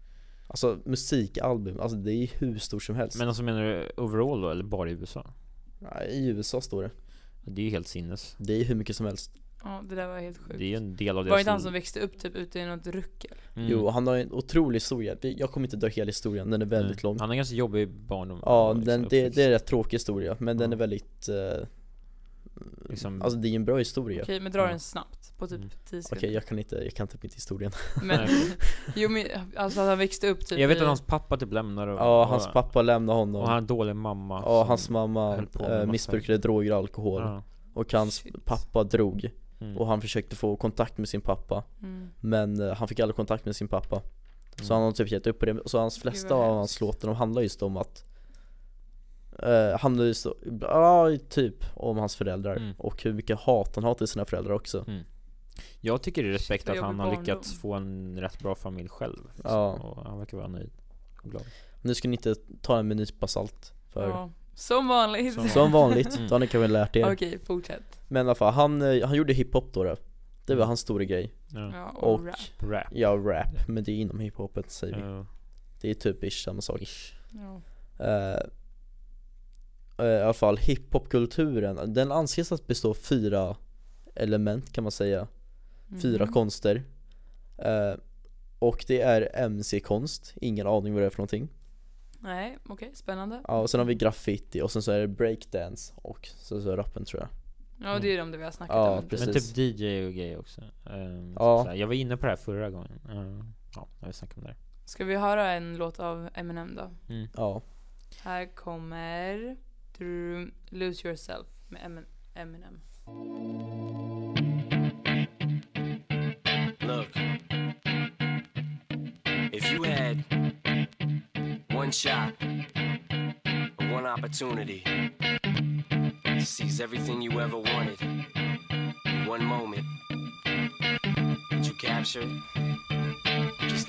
Speaker 3: Alltså musikalbum, alltså det är hur stort som helst
Speaker 2: Men alltså menar du overall då, eller bara i USA?
Speaker 3: Nej, I USA står det,
Speaker 2: Det är ju helt sinnes.
Speaker 3: det är hur mycket som helst
Speaker 1: Ja, det där var helt
Speaker 2: Det
Speaker 1: sjukt.
Speaker 2: är ju en del av
Speaker 1: Var det inte han
Speaker 2: liv.
Speaker 1: som växte upp typ ute i något ruckel?
Speaker 2: Mm.
Speaker 3: Jo, han har en otrolig historia, Vi- jag kommer inte dra hela historien, den är väldigt
Speaker 2: Nej.
Speaker 3: lång
Speaker 2: Han är ganska jobbig barndom.
Speaker 3: Ja,
Speaker 2: och liksom
Speaker 3: den, det,
Speaker 2: uppväxt.
Speaker 3: det är en rätt tråkig historia, men den
Speaker 2: Ja.
Speaker 3: är väldigt eh,
Speaker 2: Liksom-
Speaker 3: Alltså det är en bra historia
Speaker 1: Okej, men dra
Speaker 2: Ja.
Speaker 1: den snabbt på
Speaker 2: Mm.
Speaker 1: typ 10
Speaker 3: Okej,
Speaker 1: sekunder.
Speaker 3: jag kan inte, jag kan typ inte historien
Speaker 1: Men, jo men alltså att han växte upp typ
Speaker 2: Jag vet
Speaker 1: i-
Speaker 2: att hans pappa typ lämnar och,
Speaker 3: Ja,
Speaker 2: och,
Speaker 3: hans pappa lämnade honom
Speaker 2: och han har en dålig mamma.
Speaker 3: Ja,
Speaker 2: som-
Speaker 3: hans mamma
Speaker 2: höll på med
Speaker 3: eh,
Speaker 2: massa-
Speaker 3: missbrukade droger och alkohol
Speaker 2: Ja.
Speaker 3: Och hans
Speaker 1: Shit.
Speaker 3: pappa drog
Speaker 2: Mm.
Speaker 3: Och han försökte få kontakt med sin pappa
Speaker 1: Mm.
Speaker 3: Men eh, han fick aldrig kontakt med sin pappa Så han
Speaker 2: Mm.
Speaker 3: har typ gett upp på det, så hans flesta
Speaker 1: vad
Speaker 3: av
Speaker 1: hemskt.
Speaker 3: hans låtar de handlar just om att eh, Handlar just om, ja typ om hans föräldrar
Speaker 2: Mm.
Speaker 3: och hur mycket hat han har till sina föräldrar också
Speaker 2: Mm. Jag tycker det är
Speaker 1: Shit,
Speaker 2: respekt
Speaker 1: vad
Speaker 2: att han
Speaker 1: jobbig
Speaker 2: har
Speaker 1: barndom.
Speaker 2: lyckats få en rätt bra familj själv. liksom.
Speaker 3: Ja.
Speaker 2: Och han verkar vara nöjd och glad.
Speaker 3: Nu ska ni inte ta en med en nypa salt för
Speaker 1: Ja. Som vanligt.
Speaker 2: Som
Speaker 3: Som vanligt,
Speaker 2: Mm.
Speaker 3: då har ni kanske lärt er
Speaker 1: Okej, fortsätt.
Speaker 3: Men i alla fall, han, eh, han gjorde hiphop då, då Det
Speaker 2: Mm.
Speaker 3: var hans stora grej
Speaker 2: Ja.
Speaker 1: Ja, och,
Speaker 3: Och,
Speaker 1: rap.
Speaker 2: Rap.
Speaker 3: ja rap, men det är inom hiphopet säger vi
Speaker 2: Ja.
Speaker 3: Det är typ ish samma sak
Speaker 1: Ja.
Speaker 3: Eh, eh, I alla fall hiphopkulturen, den anses att bestå av fyra element kan man säga Fyra
Speaker 1: Mhm.
Speaker 3: konster Eh, Och det är MC-konst, ingen aning vad det är för någonting
Speaker 1: Nej, okej, spännande.
Speaker 3: Ja, och sen har
Speaker 1: Mm.
Speaker 3: vi graffiti och sen så är det breakdance och så, så rappen tror jag
Speaker 1: Ja, det är ju de där vi har snackat
Speaker 3: Ja,
Speaker 1: om.
Speaker 3: precis.
Speaker 2: Men typ DJ och grejer också. Ehm,
Speaker 3: Ja.
Speaker 2: så såhär, jag var inne på det här förra gången. Ehm, ja, jag vill snacka om det. här.
Speaker 1: Ska vi höra en låt av Eminem då?
Speaker 3: Ja,
Speaker 1: Här kommer drum, Lose Yourself med Emin- Eminem.
Speaker 6: Look, if you had one shot, or one opportunity to seize everything you ever wanted in one moment, would you capture it? or Just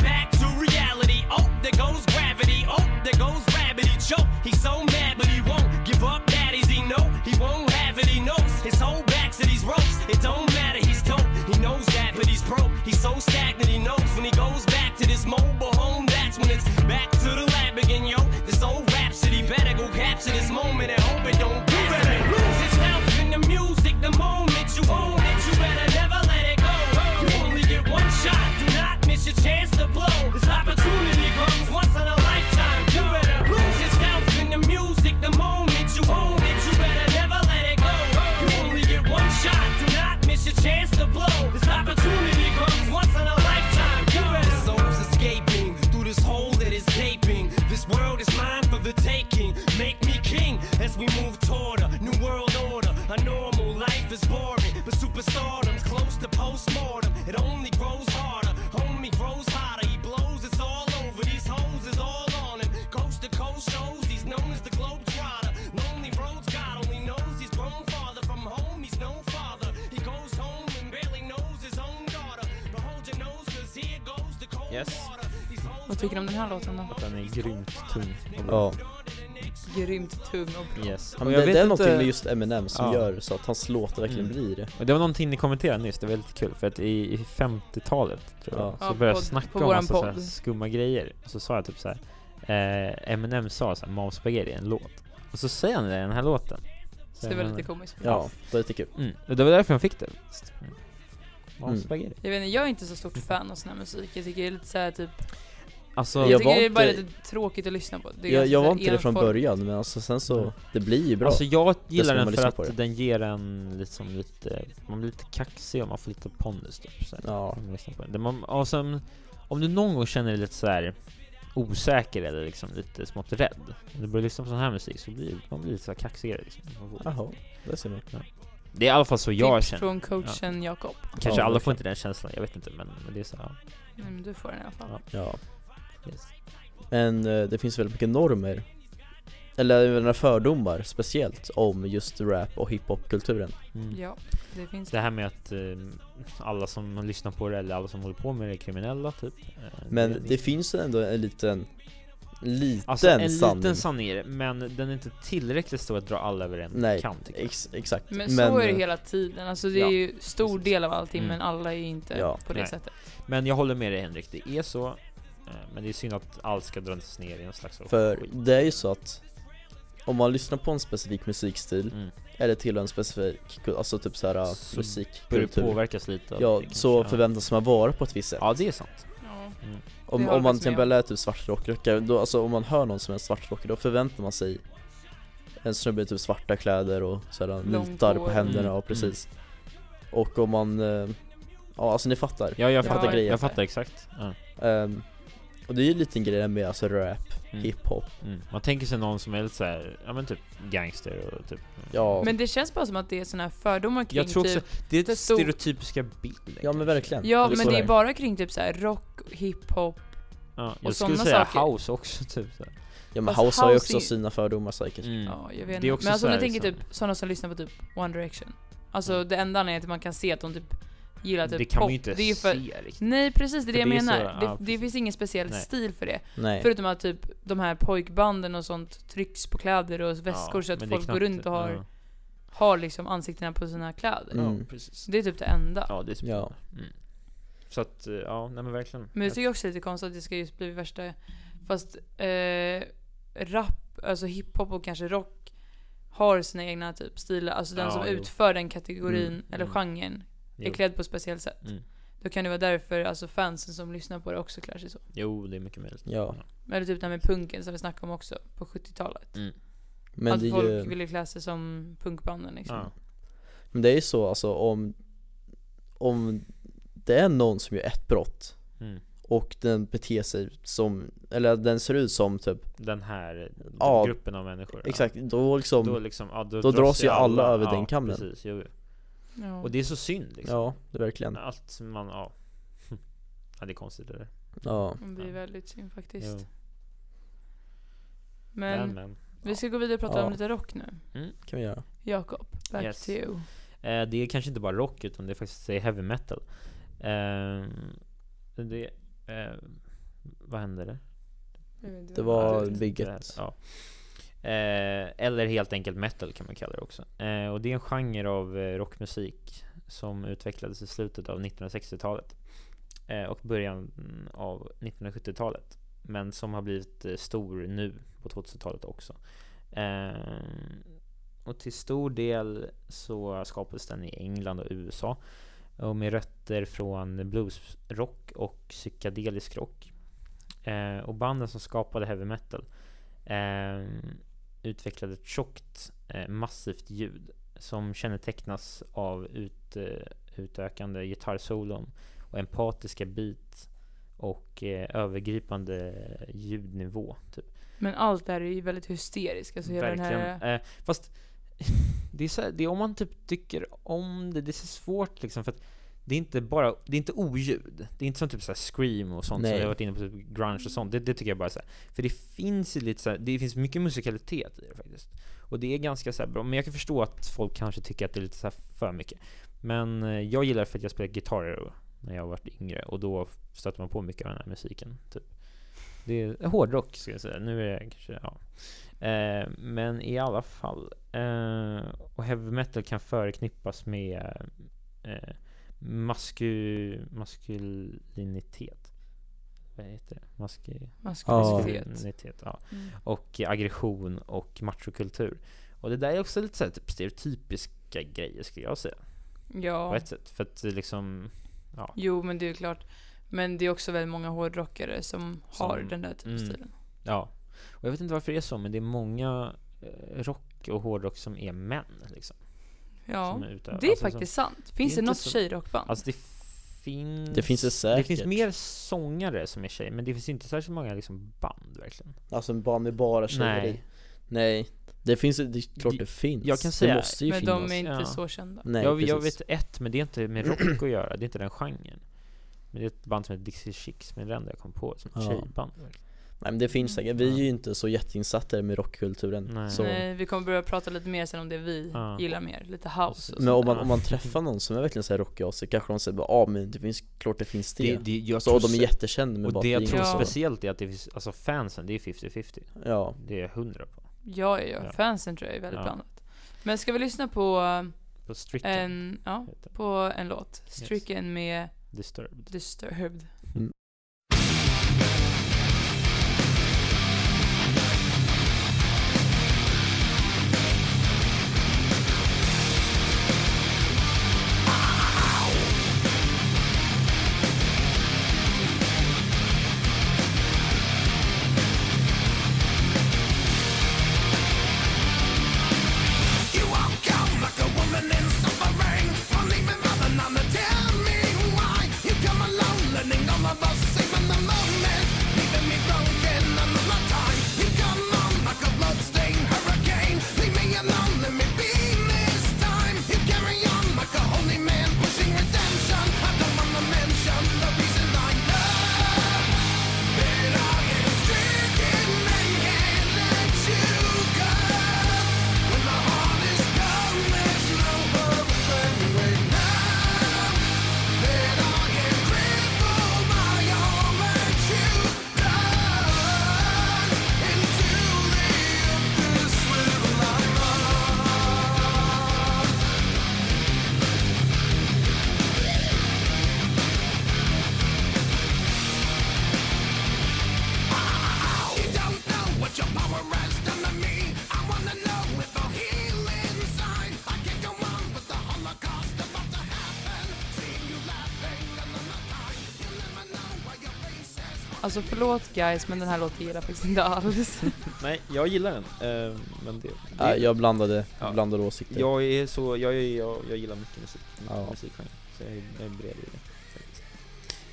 Speaker 6: back to reality. Oh, there goes gravity. Oh, there goes rabbit. He choke. He's so mad, but he won't give up. Daddies, he know he won't have it. He knows his whole back to these ropes. It don't matter. He's dope. He knows that, but he's broke. He's so stagnant. He knows when he goes back to this mobile home. That's when it's back to the lab again, yo. This old rhapsody better go capture this moment and hope it don't. You better lose his health in the music. The moment you own it, you better never let it go. You only get one shot. Do not miss your chance to blow. This opportunity comes once in a lifetime. You better lose yourself in the music. The moment you own it, you better never let it go. You only get one shot. Do not miss your chance to blow. This opportunity comes once in a lifetime. You better souls escaping through this hole that is gaping. This world is mine for the taking. Make me king as we move toward a new world order. A normal life is boring, but superstardom's close to postmortem. It only grows harder. Homie grows hotter. He blows. It's all over. These hoes is all on him. Coast to coast shows. He's known as the globe trotter. Lonely roads. God only knows he's grown farther from home. He's no father. He goes home and barely knows his own daughter. But hold your nose, 'cause here goes the cold
Speaker 2: Yes.
Speaker 6: water. These hoes
Speaker 1: Vad tycker du om den här låten då?
Speaker 2: Den är grymt tung. och bra.
Speaker 3: ja
Speaker 1: Grymt tung och bra.
Speaker 2: Yes.
Speaker 3: Ja,
Speaker 2: Och
Speaker 3: men
Speaker 2: jag
Speaker 3: det,
Speaker 2: vet
Speaker 3: det är
Speaker 2: inte-
Speaker 3: någonting med just Eminem som
Speaker 2: Ja.
Speaker 3: gör så att hans låtar verkligen
Speaker 2: Mm.
Speaker 3: blir det
Speaker 2: Och det var någonting ni kommenterade nyss, det var lite kul för att i, i 50-talet tror jag,
Speaker 3: Ja.
Speaker 2: så
Speaker 1: Ja,
Speaker 2: började jag
Speaker 1: podd-
Speaker 2: snacka
Speaker 1: på
Speaker 2: om
Speaker 1: våran
Speaker 2: massa så här
Speaker 1: podd.
Speaker 2: skumma grejer. Och så sa jag typ så här. Eh, Eminem sa såhär, Mom Spaghetti är en låt. Och så säger han det i den här låten.
Speaker 1: Så det var lite komiskt.
Speaker 3: Ja, det är lite kul
Speaker 2: Mm. Och det var därför jag fick det. Mm. Mom
Speaker 3: Mm.
Speaker 2: Spaghetti.
Speaker 1: Jag vet inte, jag är inte så stort fan av sån här musik. Jag tycker det är lite såhär typ,
Speaker 2: Alltså,
Speaker 1: jag,
Speaker 3: Jag
Speaker 1: tycker
Speaker 3: var
Speaker 1: det är bara
Speaker 3: inte-
Speaker 1: lite tråkigt att lyssna på. Det är
Speaker 3: Jag,
Speaker 1: ganska
Speaker 3: jag
Speaker 1: så
Speaker 3: var
Speaker 1: här
Speaker 3: inte det från
Speaker 1: enform-
Speaker 3: början men alltså sen
Speaker 2: Mm.
Speaker 3: så, det blir ju bra
Speaker 2: Alltså jag gillar
Speaker 3: man
Speaker 2: den för
Speaker 3: lyssnar på
Speaker 2: att
Speaker 3: det.
Speaker 2: den ger en liksom lite, man blir lite kaxig och man får lite pondus typ så här.
Speaker 3: Ja,
Speaker 2: Om man lyssnar på den. liksom- Det man, och sen, om du någon gång känner dig lite så här osäker eller liksom lite smått rädd. Om du börjar lyssna på sån här musik så blir man blir lite så här kaxigare liksom. Man får-
Speaker 3: jaha, det ser man
Speaker 2: Det är i alla fall så jag
Speaker 1: Tips
Speaker 2: känner.
Speaker 1: från coachen Jakob.
Speaker 2: Kanske
Speaker 3: Ja,
Speaker 2: alla får
Speaker 3: verkligen.
Speaker 2: inte den känslan, jag vet inte men, men det är så här,
Speaker 1: Nej, men Mm, du får den i alla fall.
Speaker 2: Ja.
Speaker 3: Ja,
Speaker 2: ja, yes.
Speaker 3: men eh, det finns väldigt mycket normer Eller jag menar, fördomar speciellt om just rap och hiphopkulturen
Speaker 2: mm.
Speaker 1: Ja, det finns
Speaker 2: Det här med att eh, alla som lyssnar på det eller alla som håller på med det är kriminella typ. Eh,
Speaker 3: Men
Speaker 2: det-
Speaker 3: det, finns ju ändå en liten, liten
Speaker 2: Alltså en
Speaker 3: sanning
Speaker 2: liten sanning är det, men den är inte tillräckligt stor att dra alla över en
Speaker 3: Nej,
Speaker 2: kam tycker jag.
Speaker 3: Ex, exakt
Speaker 1: Men, så är det
Speaker 3: eh,
Speaker 1: hela tiden, alltså det
Speaker 2: ja,
Speaker 1: är ju stor
Speaker 2: precis.
Speaker 1: del av allting
Speaker 2: Mm.
Speaker 1: men alla är ju inte
Speaker 3: Ja,
Speaker 1: på det
Speaker 2: nej.
Speaker 1: sättet.
Speaker 2: Men jag håller med dig Henrik, det är så. eh, Men det är synd att allt ska dras ner i en slags
Speaker 3: För
Speaker 2: skit.
Speaker 3: det är ju så att om man lyssnar på en specifik musikstil
Speaker 2: Mm.
Speaker 3: Eller till en specifik, kul- alltså typ såhär
Speaker 2: Så Börjar det
Speaker 3: musikkultur
Speaker 2: påverkas lite av
Speaker 3: Ja,
Speaker 2: det,
Speaker 3: så
Speaker 2: kanske.
Speaker 3: förväntas man vara på ett visst sätt
Speaker 2: Ja det är sant.
Speaker 1: Ja.
Speaker 3: Om,
Speaker 1: håller
Speaker 3: om man
Speaker 1: jag
Speaker 3: till
Speaker 1: med om.
Speaker 3: exempel är typ svartrockare, då, alltså om man hör någon som är svartrockare då förväntar man sig en snubbe i typ svarta kläder och sådär
Speaker 1: Långt
Speaker 3: nitar på
Speaker 1: hår.
Speaker 3: händerna,
Speaker 2: Mm.
Speaker 3: ja precis Och om man, eh, ja alltså ni fattar
Speaker 2: Ja jag
Speaker 1: Ja,
Speaker 2: fattar,
Speaker 1: jag
Speaker 2: jag
Speaker 3: fattar.
Speaker 2: fattar exakt. Ja.
Speaker 3: Ehm, Och det är ju en liten grej med alltså rap, hiphop
Speaker 2: Mm. Man tänker sig någon som är lite såhär, ja men typ gangster och typ
Speaker 3: Ja,
Speaker 1: Men det känns bara som att det är såna här fördomar kring
Speaker 2: Jag tror också,
Speaker 1: typ...
Speaker 2: det är den
Speaker 1: stor-
Speaker 2: stereotypiska bilden
Speaker 3: ja men
Speaker 2: kanske.
Speaker 3: verkligen
Speaker 1: Ja,
Speaker 3: Det
Speaker 1: men
Speaker 3: står
Speaker 1: det är
Speaker 3: där.
Speaker 1: bara kring typ så här rock, hiphop.
Speaker 2: Ja, jag skulle
Speaker 1: sådana
Speaker 2: säga
Speaker 1: saker.
Speaker 2: house också typ så här.
Speaker 3: Ja men
Speaker 1: fast
Speaker 3: house har ju
Speaker 1: house
Speaker 3: också
Speaker 1: är-
Speaker 3: sina fördomar säkert
Speaker 2: Mm.
Speaker 1: Ja, jag vet
Speaker 2: Det är
Speaker 1: inte.
Speaker 2: också
Speaker 1: Men alltså
Speaker 2: så
Speaker 1: om
Speaker 2: här,
Speaker 1: jag tänker
Speaker 2: liksom- Mm.
Speaker 1: typ såna som lyssnar på typ One Direction. Alltså det enda anledningen till att man kan se att de typ gillar typ
Speaker 2: det kan
Speaker 1: pop,
Speaker 2: man ju inte
Speaker 1: det är ju för...
Speaker 2: se riktigt.
Speaker 1: Nej precis, det är det
Speaker 2: För
Speaker 1: jag
Speaker 2: det är
Speaker 1: menar.
Speaker 2: så-
Speaker 1: det,
Speaker 2: ja,
Speaker 1: det
Speaker 2: precis.
Speaker 1: finns ingen speciell
Speaker 2: Nej.
Speaker 1: stil för det.
Speaker 3: Nej,
Speaker 1: Förutom att typ de här pojkbanden och sånt trycks på kläder och väskor så
Speaker 2: Ja,
Speaker 1: att
Speaker 2: men
Speaker 1: folk
Speaker 2: det är
Speaker 1: går
Speaker 2: knappt-
Speaker 1: runt och har,
Speaker 2: ja.
Speaker 1: har liksom ansiktena på sina kläder.
Speaker 3: Mm.
Speaker 2: Ja, precis.
Speaker 1: Det är typ det enda.
Speaker 2: Ja, det är typ
Speaker 3: Ja.
Speaker 2: det. Mm. Så att, eh, ja, nej men verkligen.
Speaker 1: Men jag tycker också det är lite konstigt att det ska just bli värsta... Fast eh, rap, alltså hiphop och kanske rock har sina egna typ stilar. Alltså den
Speaker 2: Ja,
Speaker 1: som
Speaker 2: jo.
Speaker 1: utför den kategorin
Speaker 2: Mm,
Speaker 1: eller
Speaker 2: mm.
Speaker 1: genren är
Speaker 2: Jo.
Speaker 1: klädd på ett speciellt sätt.
Speaker 2: Mm.
Speaker 1: Då kan det vara därför alltså fansen som lyssnar på det också klär sig så.
Speaker 2: Jo, det är mycket möjligt.
Speaker 3: ja
Speaker 1: Eller typ det här med punken som vi snackade om också på 70-talet.
Speaker 3: Men
Speaker 1: att
Speaker 3: det
Speaker 1: folk
Speaker 3: är ju
Speaker 1: ville klä sig som punkbanden liksom.
Speaker 2: Ja.
Speaker 3: Men det är ju så alltså om Om det är någon som gör ett brott
Speaker 2: Mm.
Speaker 3: och den beter sig som, eller den ser ut som typ,
Speaker 2: Den här
Speaker 3: Ja,
Speaker 2: gruppen av människor.
Speaker 3: exakt, då
Speaker 2: Ja.
Speaker 3: liksom,
Speaker 2: Då, liksom, ja, då,
Speaker 3: då dras ju alla över
Speaker 2: ja,
Speaker 3: den kammen.
Speaker 2: Precis, jo. jo.
Speaker 1: Ja.
Speaker 2: Och det är så synd liksom.
Speaker 3: ja det är verkligen
Speaker 2: Allt som man, ja. ja. Det är konstigt det där.
Speaker 3: Ja,
Speaker 1: Det blir väldigt synd faktiskt.
Speaker 2: Jo.
Speaker 1: Men,
Speaker 2: Men, men.
Speaker 1: vi ska gå vidare och prata
Speaker 3: Ja.
Speaker 1: om lite rock nu.
Speaker 3: kan vi göra
Speaker 1: Jakob, back
Speaker 2: Yes.
Speaker 1: to you.
Speaker 2: Eh, det är kanske inte bara rock utan det är faktiskt eh, heavy metal. Eh, det, eh, vad hände det?
Speaker 3: Det
Speaker 2: Ja,
Speaker 3: var
Speaker 2: det-
Speaker 3: bygget
Speaker 2: Ja. Eh, eller helt enkelt metal kan man kalla det också. Eh, och det är en genre av eh, rockmusik som utvecklades i slutet av 1960-talet eh, och början av 1970-talet. Men som har blivit eh, stor nu på 2000-talet också. Eh, och till stor del så skapades den i England och USA. Och med rötter från bluesrock och psykedelisk rock. Eh, och banden som skapade heavy metal eh, utvecklade ett tjockt, eh, massivt ljud som kännetecknas av ut, eh, utökande gitarrsolon och empatiska beat och eh, övergripande ljudnivå. Typ.
Speaker 1: Men allt det här är ju väldigt hysteriskt. Alltså hela den här...
Speaker 2: Eh, fast det är, så här, det är om man typ tycker om det, det är så svårt liksom för att det är inte bara, det är inte oljud. Det är inte som typ såhär scream och sånt som
Speaker 3: Nej.
Speaker 2: vi har varit inne på, typ grunge och sånt. Det, det tycker jag bara såhär. För det finns ju lite såhär, det finns mycket musikalitet i det faktiskt. Och det är ganska såhär bra, men jag kan förstå att folk kanske tycker att det är lite såhär för mycket. Men eh, jag gillar det för att jag spelade gitarr och- när jag var yngre och då stötte man på mycket av den här musiken. Typ. Det är hårdrock ska jag säga. Nu är det kanske, ja. Eh, men i alla fall. Eh, och heavy metal kan förknippas med eh, masku, maskulinitet. Vad heter det? Masku,
Speaker 1: Maskulinitet.
Speaker 2: maskulinitet ja.
Speaker 1: Mm.
Speaker 2: Och aggression och machokultur. Och det där är också lite så här, typ stereotypiska grejer skulle jag säga. På
Speaker 1: Ja.
Speaker 2: ett sätt. För att det liksom, ja.
Speaker 1: Jo, men det är ju klart. Men det är också väldigt många hårdrockare som,
Speaker 2: Som-
Speaker 1: har den där typen av
Speaker 2: mm.
Speaker 1: stilen.
Speaker 2: Ja. Och jag vet inte varför det är så, men det är många eh, rock och hårdrock som är män. Liksom,
Speaker 1: Ja.
Speaker 2: som utövar.
Speaker 1: Det är
Speaker 2: Alltså, som-
Speaker 1: faktiskt sant. Finns
Speaker 2: det
Speaker 1: det,
Speaker 2: är inte
Speaker 1: något
Speaker 2: så-
Speaker 1: tjejrockband?
Speaker 2: Alltså det finns...
Speaker 3: Det finns det säkert.
Speaker 2: finns mer sångare som är tjejer, men det finns inte särskilt många liksom band verkligen.
Speaker 3: Alltså bara med bara tjejer
Speaker 2: Nej.
Speaker 3: i. Nej Det finns, det är klart det finns
Speaker 2: jag kan säga-
Speaker 3: Det måste ju
Speaker 1: men
Speaker 3: finnas
Speaker 1: de är inte
Speaker 2: ja.
Speaker 1: så kända.
Speaker 3: Nej
Speaker 2: jag, jag
Speaker 3: precis.
Speaker 2: vet ett, men det är inte med rock att göra, det är inte den genren. Men det är ett band som heter Dixie Chicks, men det är det enda jag kom på som
Speaker 3: Ja.
Speaker 2: tjejband. verkligen.
Speaker 3: Nej men det finns säkert, vi är ju inte så jätteinsatta i med rockkulturen
Speaker 2: Nej.
Speaker 3: Så.
Speaker 1: Nej, vi kommer börja prata lite mer sen om det vi
Speaker 2: Ja.
Speaker 1: gillar mer. Lite house och
Speaker 3: Men om
Speaker 1: sånt
Speaker 3: man,
Speaker 1: där.
Speaker 3: om man träffar någon som är verkligen såhär rockig av sig kanske de säger bara ah, men det finns, klart det finns det,
Speaker 2: jag
Speaker 3: Så de är jättekända med
Speaker 2: och
Speaker 3: bara
Speaker 2: det jag
Speaker 3: att
Speaker 2: tror
Speaker 1: Ja.
Speaker 2: speciellt är att det finns, alltså fansen, det är 50-50.
Speaker 3: Ja,
Speaker 2: Det är jag hundra på.
Speaker 1: Ja, ja, ja.
Speaker 2: Ja.
Speaker 1: Fansen tror jag är väldigt
Speaker 2: Ja.
Speaker 1: blandat. Men ska vi lyssna på eh,
Speaker 2: På Stricken,
Speaker 1: en, ja,
Speaker 2: heter det.
Speaker 1: på en låt? Stricken med
Speaker 2: Disturbed.
Speaker 1: Disturbed.
Speaker 7: You walk out like a woman in suffering. I'm leaving nothing on the tell me why. You come alone, learning on
Speaker 1: Alltså förlåt guys, men den här låten gillar jag faktiskt inte alls.
Speaker 2: Nej, jag gillar den. eh, men det, det,
Speaker 3: Nej, jag blandade,
Speaker 2: Ja.
Speaker 3: blandade åsikter
Speaker 2: jag är så, jag, är- jag, jag gillar mycket musik, mycket
Speaker 3: Ja.
Speaker 2: musikgenre. Så jag är, jag är bred i det. faktiskt.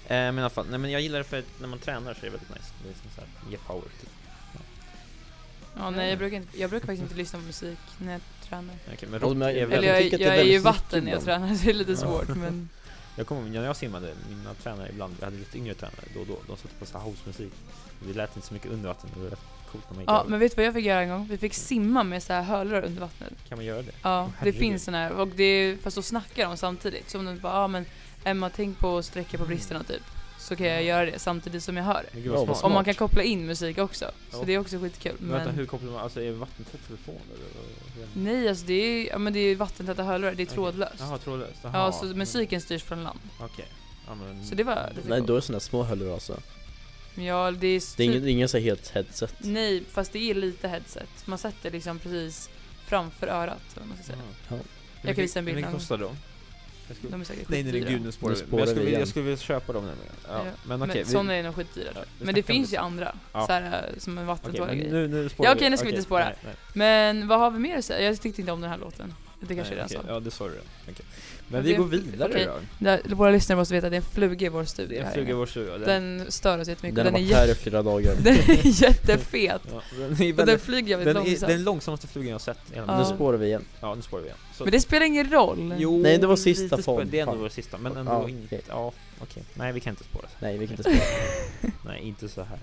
Speaker 2: Eh, men i alla fall, nej men jag gillar det för att när man tränar så är det väldigt nice. Det är som såhär, ge power typ.
Speaker 1: Ja, nej, jag brukar, inte, jag brukar faktiskt inte lyssna på musik när jag tränar.
Speaker 2: Okej, men
Speaker 3: Och
Speaker 2: rock
Speaker 3: men jag-
Speaker 2: är
Speaker 1: Eller
Speaker 2: väldigt...
Speaker 1: jag,
Speaker 3: tycker att
Speaker 1: jag,
Speaker 3: det är
Speaker 1: är ju i
Speaker 3: väldigt
Speaker 1: vatten när jag
Speaker 3: mycket
Speaker 1: tränar, så det är lite
Speaker 2: Ja.
Speaker 1: svårt men...
Speaker 2: Jag kommer ihåg när jag simmade, mina tränare ibland, vi hade lite yngre tränare då och då, de satte på så här housemusik. Det lät inte så mycket under vatten, det var rätt coolt när man gick
Speaker 1: Ja,
Speaker 2: över.
Speaker 1: men vet du vad jag fick göra en gång? Vi fick simma med så här hörlurar under vattnet.
Speaker 2: Kan man göra det?
Speaker 1: Ja, det
Speaker 2: herregud.
Speaker 1: finns såna här, och det är, fast då snackar de samtidigt. Så om de bara, ja men Emma tänk på att sträcka på bristerna typ. Så kan jag göra det samtidigt som jag hör det.
Speaker 2: Men gud vad
Speaker 3: Ja, vad
Speaker 2: smart.
Speaker 1: Och man kan koppla in musik också. Så
Speaker 2: Ja.
Speaker 1: det är också skitkul.
Speaker 2: Men vänta,
Speaker 1: Men
Speaker 2: hur kopplar man, alltså är det vattentät telefon eller? vad- hur-
Speaker 1: nej alltså det är, ja, men det är vattentäta hörlurar, det är
Speaker 2: Okej.
Speaker 1: trådlöst.
Speaker 2: Jaha, trådlöst? Jaha.
Speaker 1: Ja, så musiken styrs från land.
Speaker 2: Okej. Ja, men... Mm.
Speaker 1: Så det var lite
Speaker 3: Nej
Speaker 1: coolt.
Speaker 3: då är det sådana små hörlurar alltså
Speaker 1: Men Ja, det är,
Speaker 3: Det är
Speaker 1: typ,
Speaker 3: ingen, ingen så här helt headset
Speaker 1: Nej, fast det är lite headset. Man sätter liksom precis framför örat. eller vad Man ska säga.
Speaker 3: Mm.
Speaker 2: Ja. Hur mycket-
Speaker 1: kan visa en bild
Speaker 2: Hur mycket
Speaker 1: någon-
Speaker 2: kostar de? Jag skulle...
Speaker 1: De är säkert
Speaker 2: Nej, nej, nej
Speaker 1: skitdyra.
Speaker 2: gud nu spårar
Speaker 3: Nu
Speaker 2: vi. Men
Speaker 3: spårar
Speaker 2: jag
Speaker 3: vi
Speaker 2: skulle, vilja-
Speaker 3: igen.
Speaker 2: jag skulle vilja köpa dem nämligen. Ja.
Speaker 1: Ja.
Speaker 2: Men
Speaker 1: Men
Speaker 2: okej. vi-
Speaker 1: sådana är nog skitdyra tror
Speaker 2: Ja,
Speaker 1: jag.
Speaker 2: vi
Speaker 1: Men det
Speaker 2: snackar om
Speaker 1: finns
Speaker 2: det
Speaker 1: ju
Speaker 2: sen.
Speaker 1: andra,
Speaker 2: Ja.
Speaker 1: så här, eh, som en
Speaker 2: Okej,
Speaker 1: vattentorkare
Speaker 2: men
Speaker 1: grejer.
Speaker 2: nu, nu spårar
Speaker 1: Ja,
Speaker 2: vi.
Speaker 1: okej, nu ska vi inte spåra.
Speaker 2: Nej, nej,
Speaker 1: Men vad har vi mer att säga? Jag tyckte inte om den här låten. Det kanske
Speaker 2: nej,
Speaker 1: är det
Speaker 2: okej.
Speaker 1: jag sa.
Speaker 2: Ja, det sa du redan. Okej. Men
Speaker 1: Men
Speaker 2: vi
Speaker 1: det-
Speaker 2: går vidare
Speaker 1: okej.
Speaker 2: då.
Speaker 1: Det här- Våra lyssnare måste veta att det är en fluga i vår
Speaker 2: Det
Speaker 1: studio
Speaker 2: är en
Speaker 1: här
Speaker 2: fluga i
Speaker 1: inne.
Speaker 2: vår stuga.
Speaker 1: Den stör oss jättemycket.
Speaker 3: Den har
Speaker 1: Den, den, är,
Speaker 3: varit här i
Speaker 1: jätte,
Speaker 3: flera dagar
Speaker 1: den är jättefet.
Speaker 2: Ja, den är
Speaker 1: Och den
Speaker 2: väldigt...
Speaker 1: flyger jävligt
Speaker 2: Den är
Speaker 1: långsamt.
Speaker 2: den långsammaste flugan jag har sett. hela
Speaker 1: Ja.
Speaker 3: Nu
Speaker 2: mitt liv.
Speaker 3: spårar vi igen
Speaker 2: Ja, nu spårar vi igen. Så-
Speaker 1: Men det spelar ingen roll.
Speaker 2: Jo,
Speaker 3: Nej, det var sista
Speaker 2: lite spår-
Speaker 3: podden,
Speaker 2: Det är ändå
Speaker 3: fan.
Speaker 2: vår sista, men
Speaker 3: Ja,
Speaker 2: ändå
Speaker 3: okej.
Speaker 2: inte. Ja, okej. Nej, vi kan inte spåra. så här.
Speaker 3: Nej vi kan inte spåra
Speaker 2: Nej, inte så här.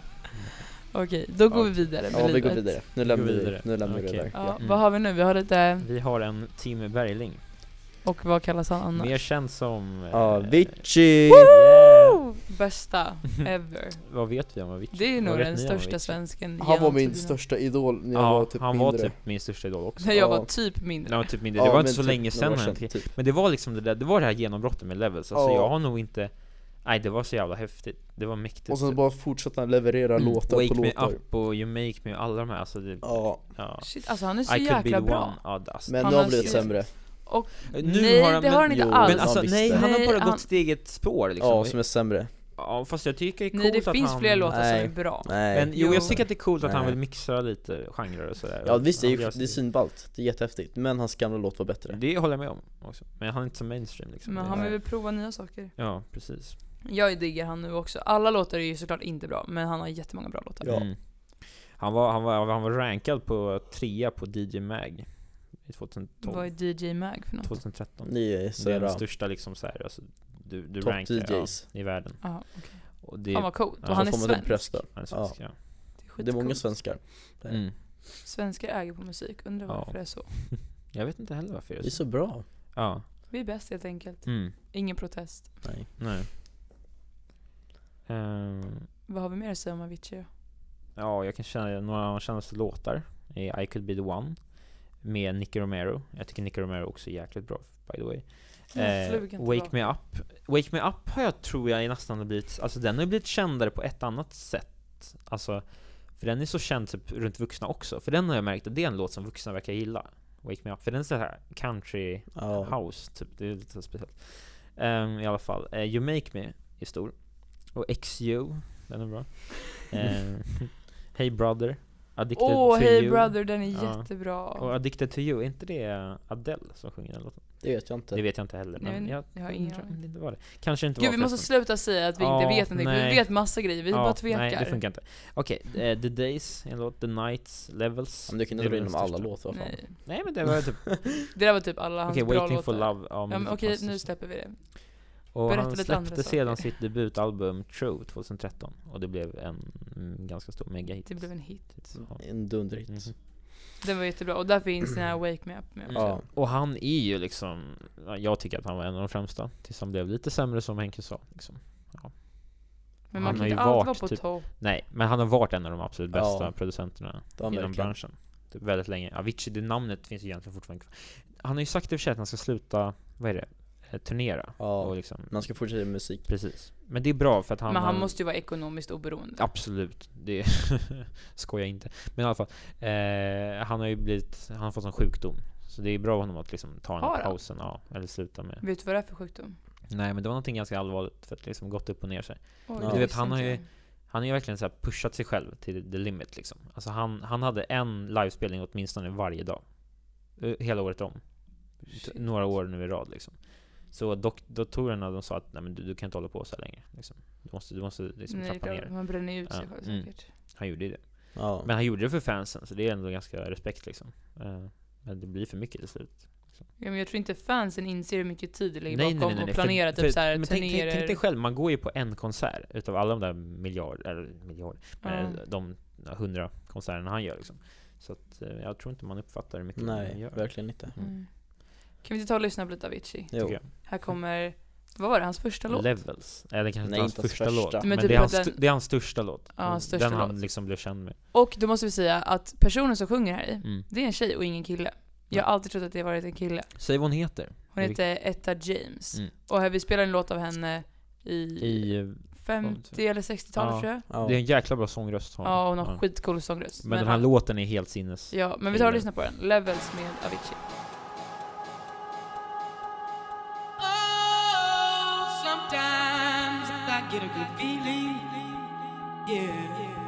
Speaker 1: Okej, då går
Speaker 2: Ja.
Speaker 1: vi vidare med
Speaker 3: Ja vi
Speaker 1: livet.
Speaker 3: går vidare, nu lämnar vi,
Speaker 2: vidare.
Speaker 3: nu lämnar vi det
Speaker 2: Okej.
Speaker 3: där
Speaker 1: Ja,
Speaker 3: ja.
Speaker 2: Mm.
Speaker 1: Vad har vi nu? Vi har lite,
Speaker 2: Vi har en Tim Bergling.
Speaker 1: och vad kallas han annars?
Speaker 2: Mer känd som... eh,
Speaker 3: Avicii!
Speaker 1: Woo! Bästa ever.
Speaker 2: Vad vet vi om Avicii?
Speaker 1: Det är nog
Speaker 2: Vad vet
Speaker 1: den
Speaker 2: ni om
Speaker 1: största
Speaker 2: Avicii?
Speaker 1: svensken
Speaker 3: Han var
Speaker 1: genom
Speaker 3: min
Speaker 1: tiderna.
Speaker 3: största idol när jag
Speaker 2: Ja,
Speaker 3: var typ
Speaker 2: han
Speaker 3: mindre
Speaker 2: var typ min största idol också.
Speaker 1: När jag var
Speaker 3: Ja.
Speaker 1: typ mindre.
Speaker 2: Nej, men typ mindre.
Speaker 3: Ja,
Speaker 2: Det var
Speaker 3: men
Speaker 2: inte så
Speaker 3: typ
Speaker 2: länge
Speaker 3: några
Speaker 2: sedan.
Speaker 3: år
Speaker 2: han-
Speaker 3: typ.
Speaker 2: Men det var liksom det där, det var det här genombrottet med Levels. Alltså
Speaker 3: Ja.
Speaker 2: jag har nog inte... Nej, det var så jävla häftigt. Det var mäktigt.
Speaker 3: Och sen bara fortsatte han leverera
Speaker 2: Mm.
Speaker 3: låtar
Speaker 2: Wake
Speaker 3: på
Speaker 2: Me
Speaker 3: låtar
Speaker 2: Up och You Make Me och alla de här. Alltså det...
Speaker 3: Ja,
Speaker 2: ja.
Speaker 1: Shit, alltså han är så
Speaker 2: I could be the
Speaker 1: jäkla bra.
Speaker 2: one. Ja, alltså,
Speaker 3: men
Speaker 1: Han
Speaker 3: nu
Speaker 1: har
Speaker 3: har han blivit
Speaker 1: skrivit-
Speaker 3: sämre
Speaker 2: nu
Speaker 1: nej,
Speaker 2: har han,
Speaker 1: det
Speaker 2: men,
Speaker 1: har han inte
Speaker 3: jo,
Speaker 1: alls.
Speaker 2: Men alltså
Speaker 3: Han
Speaker 2: nej,
Speaker 3: visste.
Speaker 2: han har
Speaker 1: Nej,
Speaker 2: bara
Speaker 1: han-
Speaker 2: gått sitt eget spår liksom.
Speaker 3: Ja, som är sämre
Speaker 2: Ja, fast jag tycker det är coolt
Speaker 1: Nej, det
Speaker 2: att
Speaker 1: finns
Speaker 2: han...
Speaker 1: fler låtar
Speaker 3: Nej.
Speaker 1: som är bra.
Speaker 3: Nej
Speaker 2: Men jo, jag
Speaker 1: Jo.
Speaker 2: tycker att det är coolt att han
Speaker 3: Nej.
Speaker 2: vill mixa lite genrer och sådär
Speaker 3: Ja visst, det är ju
Speaker 2: Han gör
Speaker 3: det är
Speaker 2: sitt.
Speaker 3: svinballt, det är jättehäftigt Men hans gamla låt var bättre
Speaker 2: Det håller jag med om också, men han är inte så mainstream liksom
Speaker 1: Men
Speaker 2: Det-
Speaker 1: han vill väl prova nya saker.
Speaker 2: Ja, precis
Speaker 1: Jag diggar han nu också. Alla låtar är ju såklart inte bra, men han har jättemånga bra låtar.
Speaker 3: Ja.
Speaker 2: Mm. han, var, han, var, han var rankad på trea på DJ Mag i 2012,
Speaker 1: Vad är DJ Mag för något?
Speaker 2: 2013
Speaker 3: Ni är
Speaker 2: Det är den
Speaker 3: sådär
Speaker 2: största liksom såhär, alltså, du, du
Speaker 3: Topp
Speaker 2: rankar ja,
Speaker 3: DJs.
Speaker 2: i världen
Speaker 1: Jaha, okej.
Speaker 2: Och det
Speaker 1: Fan
Speaker 2: är,
Speaker 1: vad coolt.
Speaker 2: Ja,
Speaker 1: Och han är
Speaker 3: får man typ
Speaker 1: svensk.
Speaker 3: brösta
Speaker 2: han är svensk, ja,
Speaker 1: är
Speaker 3: Det är många
Speaker 1: skitcoolt.
Speaker 3: svenskar Ja.
Speaker 2: Mm.
Speaker 1: Svenskar äger på musik. Undrar
Speaker 2: Ja.
Speaker 1: varför det är så.
Speaker 2: Jag vet inte heller varför det
Speaker 3: Vi
Speaker 2: är
Speaker 3: är
Speaker 2: så
Speaker 3: så bra
Speaker 2: Ja,
Speaker 1: Vi är bäst helt enkelt.
Speaker 2: mm,
Speaker 1: Ingen protest.
Speaker 3: Nej
Speaker 2: nej Ehm,
Speaker 1: Vad har vi mer att säga om Avicii? då?
Speaker 2: Ja, jag kan känna några av hans kändaste låtar är I could be the one med Nicky Romero. Jag tycker Nicky Romero också är jäkligt bra by the way.
Speaker 1: Den
Speaker 2: Eh,
Speaker 1: flög inte
Speaker 2: Wake
Speaker 1: bra.
Speaker 2: Me Up. Wake Me Up har jag tror jag är nästan har blivit, alltså den har ju blivit kändare på ett annat sätt. Alltså, för den är så känd typ runt vuxna också. För den har jag märkt att det är en låt som vuxna verkar gilla. Wake Me Up. För den är så här country
Speaker 3: Ja,
Speaker 2: house, typ. Det är lite så speciellt. Ehm, I alla fall, eh, You Make Me är stor. Och XU, den är bra. Ehm, hey Brother, Addicted
Speaker 1: Åh,
Speaker 2: to
Speaker 1: Hey
Speaker 2: You.
Speaker 1: Brother, den är
Speaker 2: Ja.
Speaker 1: jättebra.
Speaker 2: Och Addicted to You, är inte det Adele som sjunger den låten?
Speaker 3: det vet jag
Speaker 2: Det
Speaker 3: inte
Speaker 2: vet jag inte heller,
Speaker 1: Nej,
Speaker 2: men
Speaker 1: men
Speaker 2: jag,
Speaker 1: jag har ingen
Speaker 2: undrar om
Speaker 1: aning.
Speaker 2: det inte var det. Kanske inte
Speaker 1: Gud,
Speaker 2: var
Speaker 1: vi måste
Speaker 2: förresten.
Speaker 1: sluta säga att vi
Speaker 2: Ja,
Speaker 1: inte vet någonting. för
Speaker 2: nej.
Speaker 1: Vi vet massa grejer, vi
Speaker 2: Ja,
Speaker 1: bara tvekar.
Speaker 2: Nej, det funkar inte. Okej, eh, The Days, är en låt, The Nights, Levels.
Speaker 3: Men du kunde
Speaker 2: Det är
Speaker 3: dra
Speaker 2: väl
Speaker 3: in
Speaker 2: den
Speaker 3: dem alla
Speaker 2: största.
Speaker 3: låtar vad fan
Speaker 1: Nej.
Speaker 2: Nej men det var typ,
Speaker 1: Det där var typ alla hans
Speaker 2: okej,
Speaker 1: bra
Speaker 2: Waiting
Speaker 1: låtar.
Speaker 2: for Love. Ja,
Speaker 1: Ja, men
Speaker 2: det är
Speaker 1: okej, nu
Speaker 2: fantastiskt.
Speaker 1: släpper vi det.
Speaker 2: Och
Speaker 1: Berätta
Speaker 2: han
Speaker 1: lite andra
Speaker 2: släppte sedan
Speaker 1: saker.
Speaker 2: sitt debutalbum True 2013 och det blev en mm, ganska stor megahit.
Speaker 1: Det blev en hit.
Speaker 2: Ja.
Speaker 3: En dunderhit
Speaker 2: Mhm.
Speaker 1: Den var jättebra och där finns den här Wake Me Up med också.
Speaker 3: Ja,
Speaker 2: Och han är ju liksom, ja, jag tycker att han var en av de främsta, tills han blev lite sämre som Henke sa. Liksom.
Speaker 1: Men
Speaker 2: Han
Speaker 1: man
Speaker 2: har
Speaker 1: kan
Speaker 2: ju
Speaker 1: inte alltid vara
Speaker 2: varit
Speaker 1: på
Speaker 2: typ-
Speaker 1: topp.
Speaker 2: Nej, men han har varit en av de absolut
Speaker 3: Ja.
Speaker 2: bästa producenterna
Speaker 3: det har
Speaker 2: inom
Speaker 3: han verkligen
Speaker 2: branschen. Typ väldigt länge. Avicii, det namnet finns ju egentligen fortfarande kvar. Han har ju sagt i och för sig att han ska sluta, vad är det, eh, turnera. Och
Speaker 3: Ja,
Speaker 2: liksom,
Speaker 3: man ska fortsätta med musik
Speaker 2: precis. Men det är bra för att han...
Speaker 1: Men han måste ju vara ekonomiskt oberoende.
Speaker 2: Absolut, det skojar inte. Men i alla fall, eh, han har ju blivit, han har fått en sjukdom. Så det är bra av honom att liksom ta den
Speaker 1: Har
Speaker 2: här
Speaker 1: han?
Speaker 2: pausen, ja, eller sluta med.
Speaker 1: Vet du vad det är för sjukdom?
Speaker 2: Nej men det var någonting ganska allvarligt för att liksom gått upp och ner sig.
Speaker 1: Oj,
Speaker 3: Du
Speaker 1: det
Speaker 3: vet,
Speaker 1: visste
Speaker 2: han har
Speaker 1: inte
Speaker 2: ju-
Speaker 1: jag.
Speaker 2: Han har ju verkligen så här pushat sig själv till the limit liksom. Alltså han, han hade en livespelning åtminstone varje dag. Eh, Hela året om. T- Några år nu i rad liksom. Så dok- doktorerna de sa att Nej, men du, du kan inte hålla på så här längre. Liksom. Du måste, du måste liksom
Speaker 1: Nej,
Speaker 2: trappa
Speaker 1: klart,
Speaker 2: ner.
Speaker 1: man bränner ut sig
Speaker 2: Ja,
Speaker 1: själv
Speaker 2: mm.
Speaker 1: säkert.
Speaker 2: Han gjorde ju det.
Speaker 3: Ja.
Speaker 2: Men han gjorde det för fansen, så det är ändå ganska respekt liksom. Eh, Men det blir för mycket till slut.
Speaker 1: Ja, men jag tror inte fansen inser hur mycket tid det ligger
Speaker 2: Nej, nej,
Speaker 1: bakom
Speaker 2: nej, nej,
Speaker 1: och planerar
Speaker 2: för-
Speaker 1: typ
Speaker 2: för-
Speaker 1: såhär
Speaker 2: men tänk, tänk, tänk dig
Speaker 1: turnéer.
Speaker 2: själv, man går ju på en konsert utav alla de där miljarder, eller miljard, eh,
Speaker 1: Ja.
Speaker 2: de hundra konserterna han gör liksom. Så att, eh, jag tror inte man uppfattar hur mycket han
Speaker 3: Nej,
Speaker 2: gör.
Speaker 3: verkligen inte.
Speaker 1: Mm. Kan vi inte ta och lyssna på lite Avicii?
Speaker 3: Jo.
Speaker 2: tycker
Speaker 1: Här kommer, vad var det, hans första
Speaker 2: jag.
Speaker 1: låt?
Speaker 2: Levels, eller kanske
Speaker 3: Nej,
Speaker 2: inte hans
Speaker 3: inte hans
Speaker 2: första,
Speaker 3: första.
Speaker 2: låt.
Speaker 3: Men
Speaker 2: Men,
Speaker 1: typ
Speaker 2: det, är hans,
Speaker 1: den-
Speaker 2: st- det är hans största låt.
Speaker 1: Ja, hans
Speaker 2: den
Speaker 1: största
Speaker 2: han
Speaker 1: låt.
Speaker 2: liksom blev känd med.
Speaker 1: Och då måste vi säga att personen som sjunger här i,
Speaker 2: Mm.
Speaker 1: det är en tjej och ingen kille. Jag har alltid trott att det har varit en kille.
Speaker 2: Säg vad hon heter.
Speaker 1: Hon
Speaker 2: Det är
Speaker 1: heter Etta James.
Speaker 2: Mm.
Speaker 1: Och här, vi spelar en låt av henne i,
Speaker 2: I, eh,
Speaker 1: 50 eller 60-talet
Speaker 2: Ja.
Speaker 1: tror jag.
Speaker 3: Ja.
Speaker 2: Det är en jäkla bra sångröst har
Speaker 1: Ja, hon har skitcool sångröst.
Speaker 2: Men, den här låten är helt sinnes.
Speaker 1: Ja, men vi tar och lyssnar på den. Levels med Avicii.
Speaker 8: Oh, sometimes I get a good feeling. Yeah.